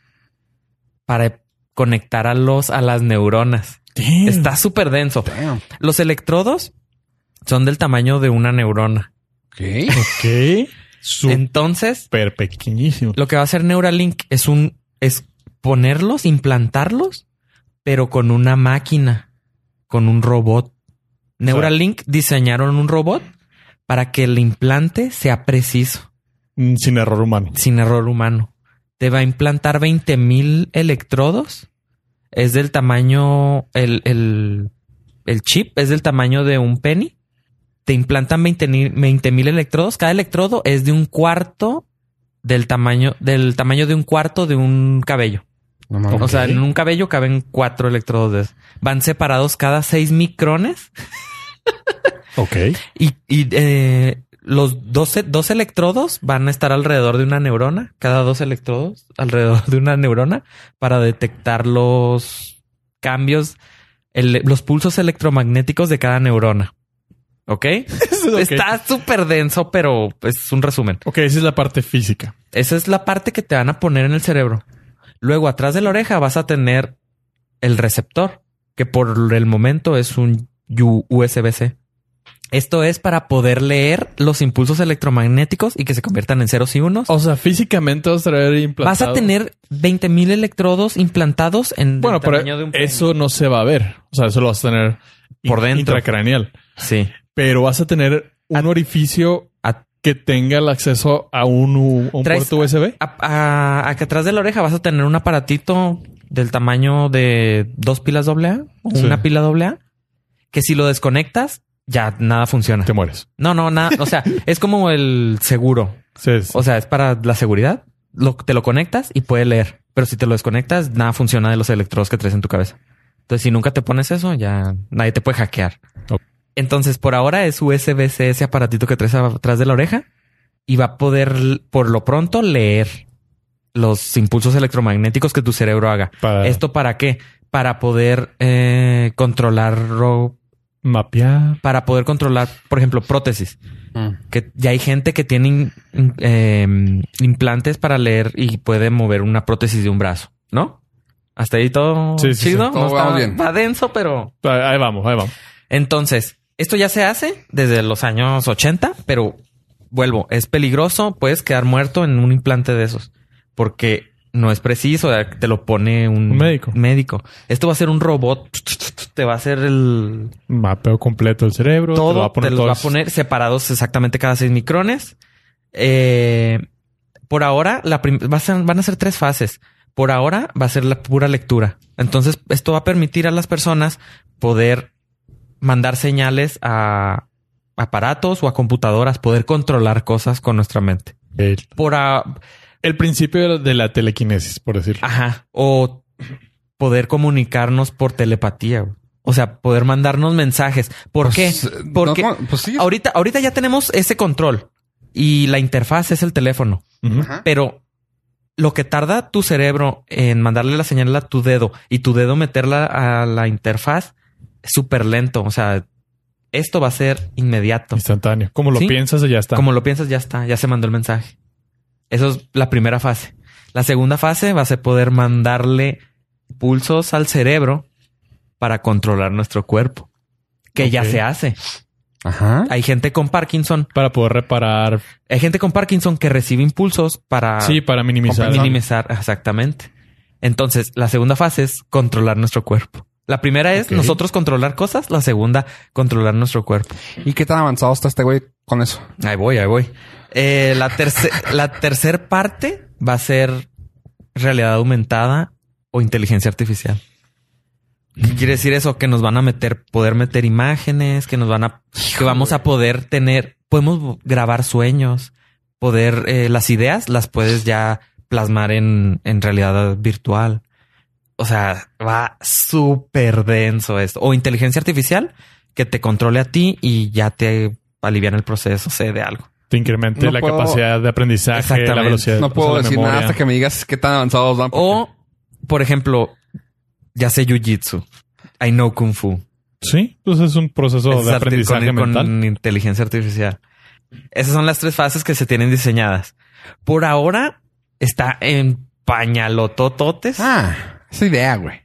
para conectar a los a las neuronas.
Damn.
Está súper denso.
Damn.
Los electrodos son del tamaño de una neurona.
Ok.
Ok. Súper
Entonces,
pequeñísimo.
lo que va a hacer Neuralink es un es ponerlos, implantarlos, pero con una máquina, con un robot. Neuralink diseñaron un robot para que el implante sea preciso,
Mm, Sin error humano.
sin error humano. Te va a implantar 20 mil electrodos. Es del tamaño, el, el- el chip es del tamaño de un penny. Te implantan 20 mil electrodos. Cada electrodo es de un cuarto del tamaño, del tamaño de un cuarto de un cabello.
No mames.
O sea,
Ok.
en un cabello caben cuatro electrodos. de esos. Van separados cada seis micrones [laughs]
Ok.
y, y, eh, los 12, dos electrodos van a estar alrededor de una neurona. Cada dos electrodos alrededor de una neurona para detectar los cambios, el- los pulsos electromagnéticos de cada neurona. ¿Ok? Está súper denso, pero es un resumen.
Ok, esa es la parte física.
Esa es la parte que te van a poner en el cerebro. Luego, atrás de la oreja vas a tener el receptor, que por el momento es un U- USB-C. Esto es para poder leer los impulsos electromagnéticos y que se conviertan en ceros y unos.
O sea, físicamente vas a traer
Vas
implantado.
a tener 20.000 electrodos implantados en
Bueno,
el
pero
tamaño de un
eso no se va a ver. O sea, eso lo vas a tener
Por
in-
dentro.
Intracraneal.
Sí.
Pero vas a tener un
Ah.
orificio
a-
que tenga el acceso a un, u- un
Traes-
puerto USB.
A- a- a que atrás de la oreja vas a tener un aparatito del tamaño de dos pilas AA o
Sí.
una pila AA que si lo desconectas ya nada funciona.
Te mueres.
No, no, nada.
[laughs]
O sea, es como el seguro.
Sí, es-
O sea, es para la seguridad. Lo, te lo conectas y puede leer. Pero si te lo desconectas, nada funciona de los electrodos que traes en tu cabeza. Entonces, si nunca te pones eso, ya nadie te puede hackear.
Ok.
Entonces, por ahora es USB-C ese aparatito que traes atrás de la oreja y va a poder, por lo pronto, leer los impulsos electromagnéticos que tu cerebro haga.
para
¿Esto para qué? Para poder eh, controlar, ro-
mapear.
para poder controlar, por ejemplo, prótesis
Mm.
que ya hay gente que tiene in- in- em, implantes para leer y puede mover una prótesis de un brazo, ¿no? Hasta ahí todo
Sí, sí, sí.
chido.
Todo
No está,
vamos bien.
está denso, pero
Ah, Ahí vamos, ahí vamos.
entonces esto ya se hace desde los años 80, pero vuelvo, es peligroso, puedes quedar muerto en un implante de esos porque no es preciso, te lo pone un,
Un médico.
médico. Esto va a ser un robot, te va a hacer el
Mapeo completo del cerebro. te lo va
todo
a poner
te los va a
todos-
poner separados exactamente cada 6 micrones. Eh, por ahora, la prim- va a ser- van a ser tres fases. Por ahora va a ser la pura lectura. Entonces, esto va a permitir a las personas poder mandar señales a aparatos o a computadoras, poder controlar cosas con nuestra mente.
El,
Por a-
el principio de la telequinesis, por decirlo.
ajá, o poder comunicarnos por telepatía. güey. O sea, poder mandarnos mensajes. ¿Por
Pues,
qué?
eh,
Porque
no, no, pues sí.
Ahorita, ahorita ya tenemos ese control y la interfaz es el teléfono,
Ujú.
Ajá.
pero lo que tarda tu cerebro en mandarle la señal a tu dedo y tu dedo meterla a la interfaz es súper lento. O sea, esto va a ser inmediato.
Instantáneo. Como lo
Sí.
piensas, ya está.
Como lo piensas, ya está, ya se mandó el mensaje. Eso es la primera fase. La segunda fase va a ser poder mandarle pulsos al cerebro para controlar nuestro cuerpo, que ya
Ok.
se hace.
Ajá.
Hay gente con Parkinson
Para poder reparar.
Hay gente con Parkinson que recibe impulsos para
sí, para minimizar.
compensar.
minimizar. Exactamente. Entonces, la segunda fase es controlar nuestro cuerpo. La primera es
Ok.
nosotros controlar cosas. La segunda, controlar nuestro cuerpo.
¿Y qué tan avanzado está este güey con eso?
Ahí voy, ahí voy. Eh, la tercera [laughs] la tercer parte va a ser realidad aumentada o inteligencia artificial. ¿Qué quiere decir eso? Que nos van a meter, poder meter imágenes, que nos van a, que vamos a poder tener, podemos grabar sueños, poder, eh, las ideas las puedes ya plasmar en, en realidad virtual. O sea, va súper denso esto. O inteligencia artificial que te controle a ti y ya te alivian el proceso, sé de algo.
Te incremente
No
la
puedo-
capacidad de aprendizaje, la
Exactamente.
velocidad.
No
o sea,
puedo
la
decir
memoria.
nada hasta que me digas qué tan avanzados van. porque-
O, por ejemplo, ya sé jiu-jitsu. I know kung fu.
Sí, pues es un proceso
Es
de
arti-
aprendizaje
con,
mental.
con inteligencia artificial. Esas son las tres fases que se tienen diseñadas. Por ahora está en pañalotototes.
Ah, esa idea, güey.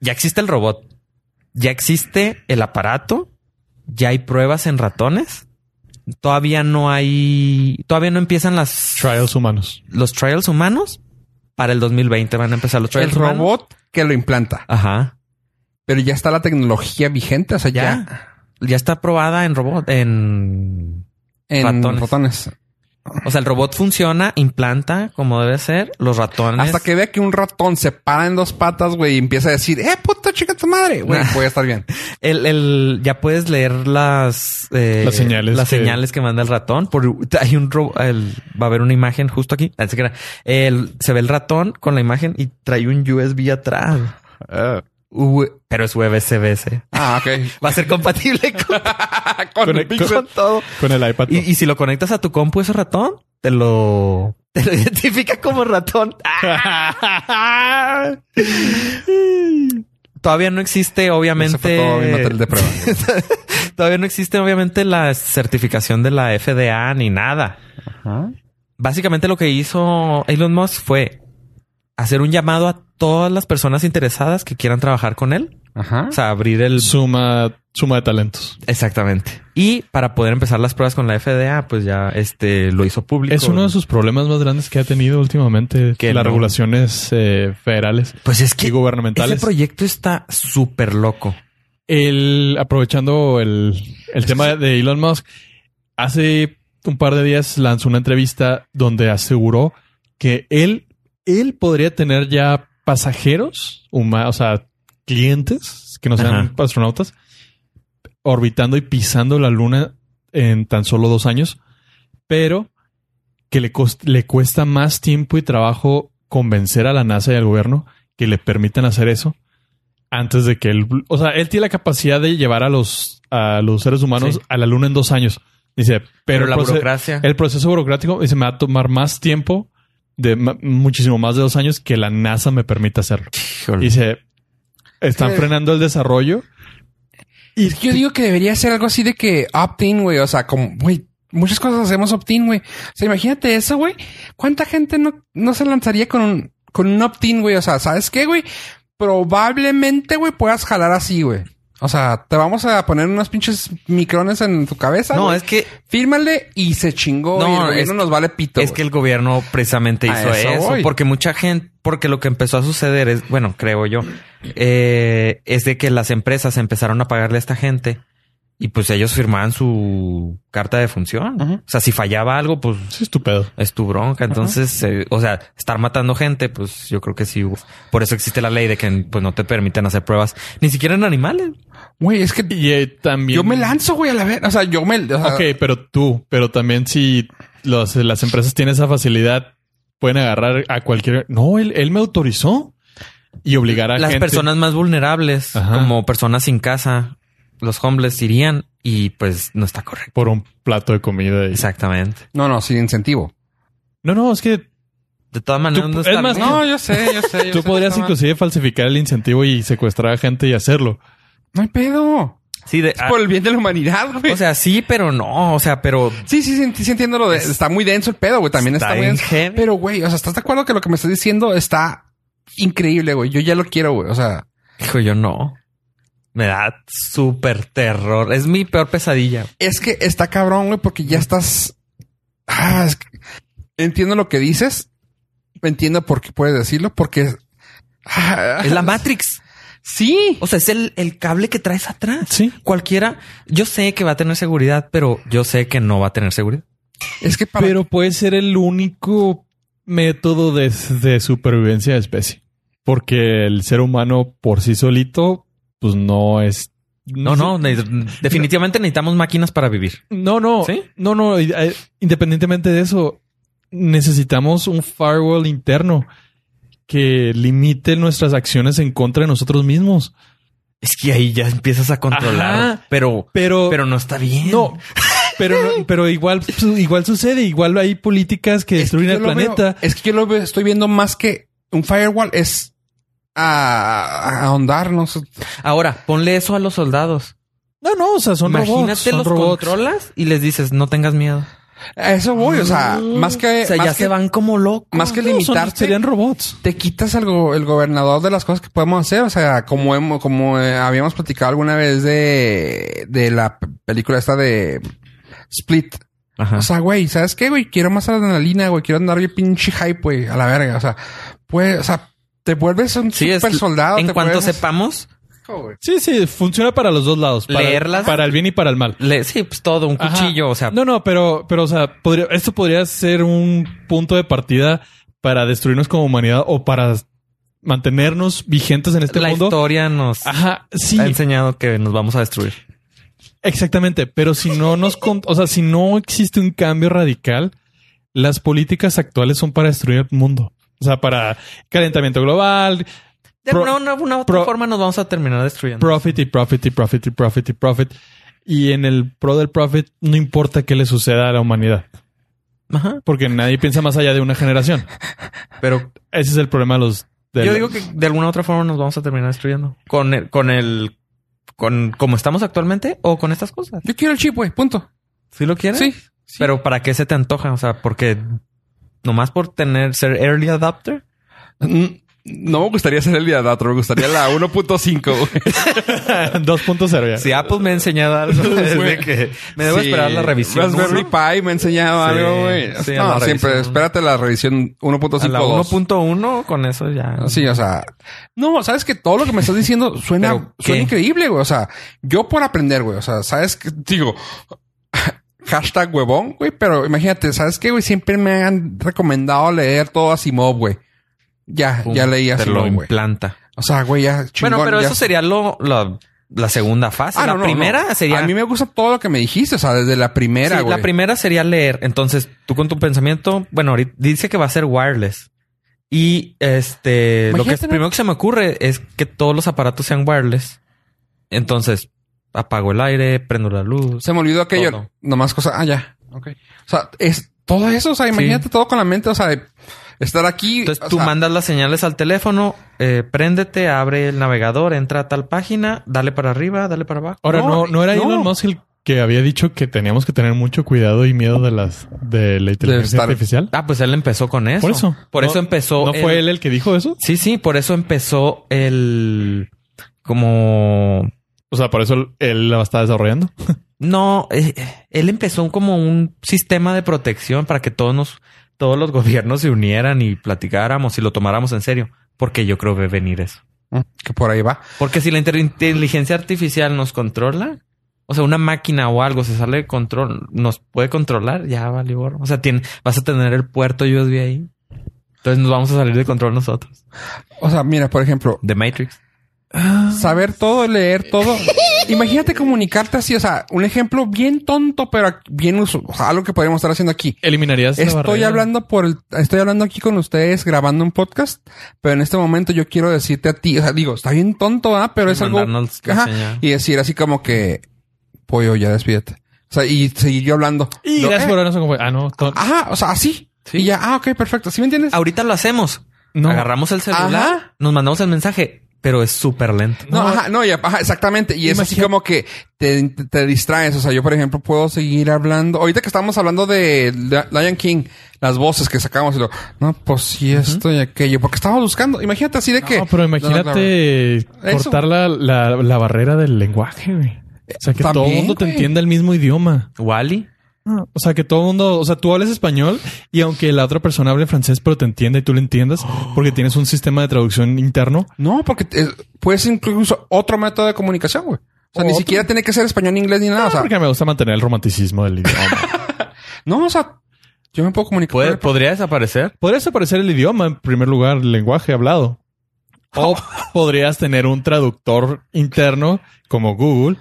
Ya existe el robot. Ya existe el aparato. Ya hay pruebas en ratones. Todavía no hay. Todavía no empiezan las
Trials humanos.
los trials humanos. Para el 2020 van a empezar los
El
trials humanos.
robot que lo implanta.
Ajá.
Pero ya está la tecnología vigente, o sea, ya,
Ya está aprobada en robot. En.
en
Ratones.
ratones.
O sea, el robot funciona, implanta como debe ser. Los ratones.
Hasta que vea que un ratón se para en dos patas, güey, y empieza a decir, eh, puta, chica tu madre, güey,
Ah.
voy a estar bien.
El, el- ya puedes leer las, eh,
Las señales
las
que-
señales que manda el ratón. Por, hay un ro- el- va a haber una imagen justo aquí. Ah, se crea. El- se ve el ratón con la imagen y trae un USB atrás. U- pero es USB-C.
Ah,
[laughs]
ok.
Va a ser
[laughs]
compatible con,
Con
Ah, Con
el
el-
Pixel. [laughs]
con todo.
Con el iPad.
Y, y si lo conectas a tu compu ese ratón, te lo, te lo [laughs] identifica como ratón. Ah, Todavía no existe, obviamente.
Ese fue todo mi material de
[laughs]
prueba.
Todavía no existe, obviamente, la certificación de la FDA ni nada. Básicamente lo que hizo Elon Musk fue hacer un llamado a todas las personas interesadas que quieran trabajar con él.
Ajá.
O sea, abrir el...
suma, suma de talentos.
Exactamente. Y para poder empezar las pruebas con la FDA, pues ya este lo hizo público.
Es uno de sus problemas más grandes que ha tenido últimamente
Que
las
no.
regulaciones eh, federales
Pues es
y
que ese
gubernamentales.
proyecto está súper loco.
El, aprovechando el, el tema de Elon Musk, hace un par de días lanzó una entrevista donde aseguró que él, él podría tener ya pasajeros, huma- o sea, clientes que no sean
Ajá.
astronautas, orbitando y pisando la luna en tan solo dos años, pero que le, cost- le cuesta más tiempo y trabajo convencer a la NASA y al gobierno que le permitan hacer eso antes de que él, o sea, él tiene la capacidad de llevar a los, a los seres humanos
Sí.
a la luna en dos años. Dice, pero,
Pero, la
el proce-
burocracia...
el proceso burocrático se me va a tomar más tiempo, de ma- muchísimo más de dos años, que la NASA me permita hacerlo.
Híjole.
Y se están
Sí.
frenando el desarrollo.
Es que yo digo que debería ser algo así de que opt-in, güey. O sea, como, güey, muchas cosas hacemos opt-in, güey. O sea, imagínate eso, güey. ¿Cuánta gente no, no se lanzaría con un, con un opt-in, güey? O sea, ¿sabes qué, güey? Probablemente, güey, puedas jalar así, güey. O sea, te vamos a poner unos pinches micrones en tu cabeza.
No,
güey.
es que
Fírmale y se chingó. No,
No,
y el
es
gobierno
que-
nos vale pito.
Es que el gobierno precisamente
A
hizo
eso
eso,
voy.
porque mucha gente, porque lo que empezó a suceder es, bueno, creo yo, eh, es de que las empresas empezaron a pagarle a esta gente y pues ellos firmaban su carta de función.
Ajá.
O sea, si fallaba algo, pues
Sí, estupendo.
es tu bronca. Entonces, eh, o sea, estar matando gente, pues yo creo que sí. hubo. Por eso existe la ley de que pues no te permiten hacer pruebas, ni siquiera en animales.
güey, es que
Y eh, también.
yo me lanzo, güey, a la vez. O sea, yo me. o sea,
Ah.
Ok, pero tú, pero también si los- las empresas tienen esa facilidad, pueden agarrar a cualquier. No, él, él me autorizó y obligar a
Las
gente-
personas más vulnerables,
Ajá.
como personas sin casa, los homeless irían y pues no está correcto.
por un plato de comida. y-
Exactamente.
No, no, sin incentivo.
No, no, es que
De todas maneras,
Tú-
no
es
está
más,
bien.
No, yo sé, yo sé. yo sé
tú
que
podrías
está mal.
inclusive falsificar el incentivo y secuestrar a gente y hacerlo.
No hay pedo.
Sí, de-
Es por el bien de la humanidad, güey.
ah, o sea, sí, pero no. O sea, pero
Sí, sí, sí, sí entiendo lo de... Está muy denso el pedo, güey. También está,
Está
muy
bien
denso.
heavy.
Pero, güey, o sea, ¿estás de acuerdo que lo que me estás diciendo está increíble, güey? Yo ya lo quiero, güey. O sea...
hijo, yo no. Me da súper terror. Es mi peor pesadilla.
Es que está cabrón, güey, porque ya estás... Ah, es que- Entiendo lo que dices. Entiendo por qué puedes decirlo, porque... Ah,
Es la Matrix.
Sí.
O sea, es el, el cable que traes atrás.
Sí.
Cualquiera. Yo sé que va a tener seguridad, pero yo sé que no va a tener seguridad.
Es que para...
Pero puede ser el único método de, de supervivencia de especie. Porque el ser humano por sí solito, pues no es.
No, no. ne- definitivamente necesitamos máquinas para vivir.
No, no.
¿Sí?
No, no. y, eh, Independientemente de eso, necesitamos un firewall interno que limite nuestras acciones en contra de nosotros mismos.
Es que ahí ya empiezas a controlar.
Ajá.
Pero,
Pero,
pero no está bien.
no. Pero, no- pero igual, su- igual sucede, igual hay políticas que
Es que
destruyen
yo
el
lo veo-
planeta.
es que yo lo veo- estoy viendo más que un firewall es a, a ahondar, no sé.
Ahora, ponle eso a los soldados.
No, no, o sea, son
Imagínate
robots. son
los
robots.
controlas y les dices, no tengas miedo.
A eso voy, o sea, más que,
Ah, O sea,
más
ya
que-
se van como locos.
más que
No, son-
limitarte,
serían robots.
te quitas el, go- el gobernador de las cosas que podemos hacer. O sea, como hemos, como eh, habíamos platicado alguna vez de, de la p- película esta de Split.
Ajá.
O sea, güey, ¿sabes qué, güey? Quiero más adrenalina, güey. Quiero andar bien pinche hype, güey, a la verga. O sea, pues, o sea, te vuelves un
Sí, es-
super soldado.
En cuanto sepamos,
Sí, sí, funciona para los dos lados. Para,
Leerlas.
Para el bien y para el mal.
le, sí, pues todo, un
Ajá.
cuchillo, o sea,
No, no, pero, pero, o sea, podría- esto podría ser un punto de partida para destruirnos como humanidad o para mantenernos vigentes en este
la
mundo.
historia nos
Ajá, sí,
ha enseñado que nos vamos a destruir.
exactamente. Pero si no nos, con- o sea, si no existe un cambio radical, las políticas actuales son para destruir el mundo. O sea, para calentamiento global,
De
Pro-
una, una- una otra
pro-
forma nos vamos a terminar destruyendo.
profit y profit y profit y profit y profit. Y en el pro del profit no importa qué le suceda a la humanidad,
Ajá.
porque nadie piensa más allá de una generación.
Pero
Ese es el problema de los... de
yo
los-
digo que de alguna otra forma nos vamos a terminar destruyendo. Con el, con el, con como estamos actualmente o con estas cosas.
Yo quiero el chip, güey, punto.
¿Sí lo quieres?
Sí. sí.
Pero ¿para qué se te antoja? O sea, porque nomás por tener, ser early adapter.
Mm, No me gustaría ser el día de otro, me gustaría la [laughs] 1.5. güey.
[laughs] 2.0 ya.
Si Apple me ha enseñado
[laughs]
algo, es de que me debo
Sí.
esperar la revisión.
Raspberry
uno,
Pi me ha enseñado
Sí,
algo, güey.
sí, a la
no,
revisión
siempre
uno.
espérate la revisión
a la
1.5.
1.1, con eso ya.
Ah, Sí, o sea, no, sabes que todo lo que me estás
[laughs]
diciendo suena,
¿Pero qué?
suena increíble, güey. O sea, yo por aprender, güey. O sea, sabes que digo, [laughs] hashtag huevón, güey, pero imagínate, sabes que, güey, siempre me han recomendado leer todo Asimov, güey. Ya,
Pum,
ya leí
te
Asimov,
lo
güey.
implanta.
O sea, güey, ya chingón.
bueno, pero
ya
eso sería lo, la, la segunda fase.
Ah,
la
no, no,
primera
no.
sería.
A mí me gusta todo lo que me dijiste, o sea, desde la primera,
Sí,
güey.
la primera sería leer. Entonces, tú con tu pensamiento, bueno, ahorita dice que va a ser wireless. Y este, lo que
Imagínate,
es,
¿no?
primero que se me ocurre es que todos los aparatos sean wireless. Entonces, apago el aire, prendo la luz.
Se me olvidó aquello.
Todo.
Nomás cosa. Ah, ya. Ok. O sea, es todo eso. O sea, imagínate todo con la mente. O sea, estar aquí. [laughs]
Entonces,
o
tú
sea,
mandas las señales al teléfono, eh, préndete, abre el navegador, entra a tal página, dale para arriba, dale para abajo.
Ahora,
No,
no, no era
no.
Elon Musk el que había dicho que teníamos que tener mucho cuidado y miedo de las de la inteligencia
estar-
artificial.
Ah, pues él empezó con eso.
Por eso.
Por eso
No-
empezó.
¿No
el-
fue él el que dijo eso?
Sí, sí, por eso empezó el como
O sea, por eso él la está desarrollando.
no, eh, él empezó como un sistema de protección para que todos nos, todos los gobiernos se unieran y platicáramos y lo tomáramos en serio, porque yo creo que venir eso.
mm, Que por ahí va.
Porque si la inter- inteligencia artificial nos controla, o sea, una máquina o algo se sale de control, nos puede controlar, ya vale gorro. O sea, tiene, vas a tener el puerto USB ahí. Entonces nos vamos a salir de control nosotros.
O sea, mira, por ejemplo,
The Matrix.
saber todo, leer todo. imagínate comunicarte así. O sea, un ejemplo bien tonto, pero bien uso. O sea, algo que podríamos estar haciendo aquí.
Eliminarías la
Estoy
barrera.
hablando por el- estoy hablando aquí con ustedes grabando un podcast, pero en este momento yo quiero decirte a ti, o sea, digo, está bien tonto, ¿ah? Pero es algo
Mandarnos la
ajá,
señal.
y decir así como que pollo, ya despídete. O sea, y seguir yo hablando.
Y
Lo-
gracias por
eh,
habernos acompañado. Ah, no. to-
Ajá, o sea, así.
Sí.
Y ya, ah, ok, perfecto. ¿Sí me entiendes?
Ahorita lo hacemos.
no.
Agarramos el celular,
Ajá.
nos mandamos el mensaje, pero es súper lento.
No,
No. eh,
ajá, no, ya, ajá, exactamente. Y es así
Imagínate-
como que te, te distraes. O sea, yo, por ejemplo, puedo seguir hablando. Ahorita que estamos hablando de Li- Lion King, las voces que sacamos y lo, no, pues sí, esto y aquello. Porque estábamos buscando. Imagínate así de que.
No, pero imagínate
Eso.
cortar la, la- la barrera del lenguaje, güey. O sea, que todo el
También,
mundo te
güey.
entienda el mismo idioma.
Wally.
O sea, que todo el mundo, o sea, tú hables español y aunque la otra persona hable francés, pero te entienda y tú
[gasps]
lo entiendas, porque tienes un sistema de traducción interno.
No, porque eh, puedes incluso otro método de comunicación, güey. O sea, ni
Otro.
siquiera tiene que ser español, inglés ni nada. o sea,
porque me gusta mantener el romanticismo
[laughs]
del idioma.
no, o sea, yo me puedo comunicar.
¿Puede,
con
¿Podría desaparecer?
podrías aparecer el idioma en primer lugar, el lenguaje hablado.
[laughs]
O podrías tener un traductor interno como Google,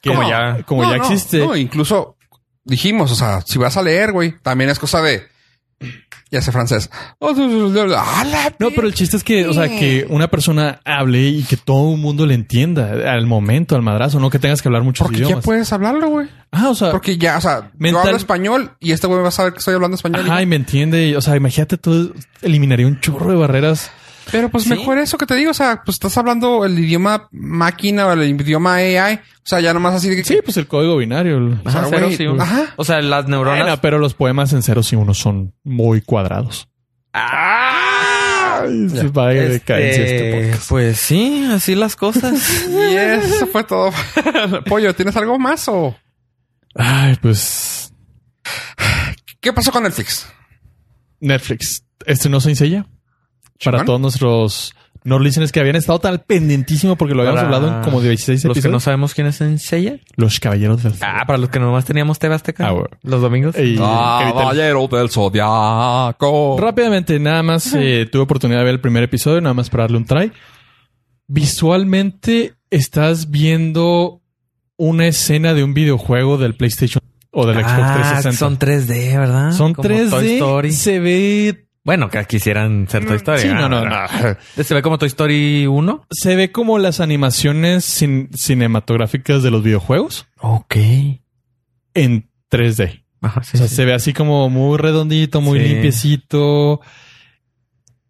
que
Como ya-
como
No,
ya
no,
existe.
No, incluso dijimos, o sea, si vas a leer, güey, también es cosa de. Ya sé francés. ¡Hala!
No, pero el chiste es que, o sea, que una persona hable y que todo el mundo le entienda al momento, al madrazo, no que tengas que hablar muchos
Porque ya
idiomas.
puedes hablarlo, güey.
Ah, o sea,
Porque ya, o sea, yo
Mental-
hablo español y este güey va a saber que estoy hablando español.
ajá, y me entiende. y, O sea, imagínate, tú eliminaría un chorro de barreras
Pero pues
Sí.
mejor eso que te digo, o sea, pues estás hablando el idioma máquina o el idioma AI, o sea, ya nomás así de que...
Sí, pues el código binario. el-
O sea,
Ajá, cero,
güey,
sí, uno.
ajá.
O sea, las neuronas.
Bueno, pero los poemas en ceros y unos son muy cuadrados.
¡Ah!
Ay,
Ya.
vaya
Este,
decadencia este podcast.
pues sí, así
[laughs]
las cosas.
Y eso fue todo. [laughs] Pollo, ¿tienes algo más o
Ay, pues
qué pasó con Netflix?
Netflix ¿este estrenó Saint Seiya para
Chingón.
todos nuestros no listeners que habían estado tan pendentísimo porque lo habíamos
Para
hablado en como 16
los que no
episodios.
sabemos quién es Senseiya.
Los caballeros del
Ah, para los que nomás teníamos TV Azteca.
Ah, bueno.
Los domingos.
Ey, ahorita-
Ah, del Zodiaco.
Rápidamente, nada
[laughs]
más eh, tuve oportunidad de ver el primer episodio, nada más para darle un try. Visualmente estás viendo una escena de un videojuego del PlayStation o del Xbox
Ah,
360.
Son 3D, ¿verdad?
Son
Como
3D.
Toy Story.
Se ve.
Bueno, que quisieran ser Toy Story.
Sí,
ah,
no, no,
¿verdad?
no.
[laughs] Se ve como Toy Story 1.
Se ve como las animaciones cin- cinematográficas de los videojuegos
Ok.
en 3D.
Ajá,
O
sí,
sea,
sí.
se ve así como muy redondito, muy
Sí.
limpiecito.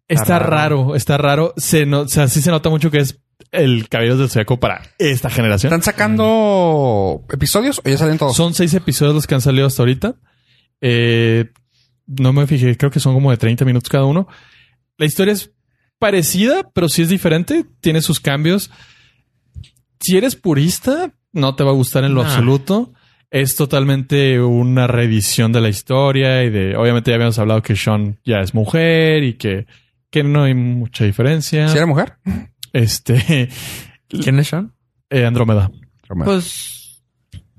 Está
Está raro.
raro. está raro. Se no, o sea, sí se nota mucho que es el cabello del zodiaco para esta generación.
¿Están sacando episodios o ya salen todos?
Son seis episodios los que han salido hasta ahorita. Eh, no me fijé, creo que son como de 30 minutos cada uno. La historia es parecida, pero sí es diferente. Tiene sus cambios. Si eres purista, no te va a gustar en lo
Nah.
absoluto. Es totalmente una reedición de la historia y de... Obviamente ya habíamos hablado que Sean ya es mujer y que, que no hay mucha diferencia.
¿Si era mujer?
Este... [laughs]
¿Quién es Sean?
eh, Andrómeda.
Pues.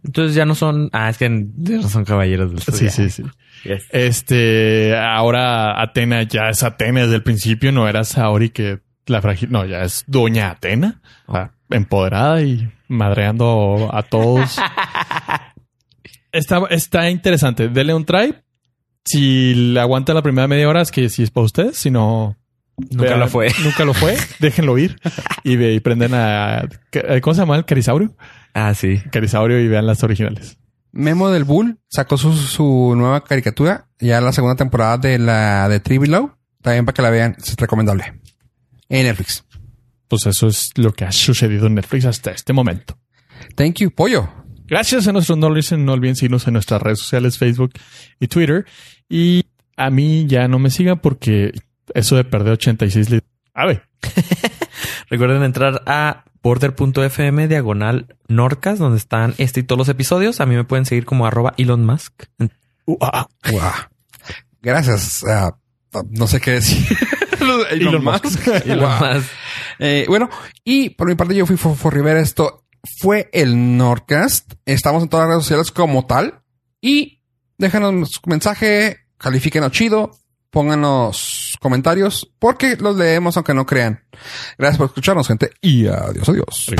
Entonces ya no son. Ah, es que ya no son caballeros
[laughs]
del
Sí,
Zodiaco.
sí, sí.
Yes.
Este, ahora Atena ya es Atena desde el principio, no era Saori que la frágil, no, ya es Doña Atena, o
Ah,
sea, empoderada y madreando a
[laughs]
todos. está, está interesante, denle un try. Si le aguanta la primera media hora es que si es para ustedes, si no...
Nunca
vean-
lo fue.
[laughs] Nunca lo fue, déjenlo
[laughs]
ir y, ve, y prenden a... ¿Cómo se llama el Carisaurio?
Ah, sí.
Carisaurio y vean las originales.
Memo del Bull sacó su, su nueva caricatura, ya la segunda temporada de la de Trivial también para que la vean, es recomendable. En Netflix.
Pues eso es lo que ha sucedido en Netflix hasta este momento.
Thank you, pollo.
Gracias a nuestros no listen, no olviden seguirnos en nuestras redes sociales, Facebook y Twitter. Y a mí ya no me sigan porque eso de perder 86 litros. A ver,
Recuerden entrar a border.fm diagonal Norcas, donde están este y todos los episodios. A mí me pueden seguir como arroba Elon Musk.
uh, ah,
Guau. Gracias. ah, ah, no sé qué decir. [laughs]
Elon Musk.
Elon
Guau.
Musk.
Eh, bueno, y por mi parte yo fui Fofo Rivera. Esto fue el Nordcast. Estamos en todas las redes sociales como tal. Y déjanos un mensaje, califíquenos chido, pónganos comentarios, porque los
ah.
leemos aunque no crean. Gracias por escucharnos, gente. Y adiós, adiós.
Sí.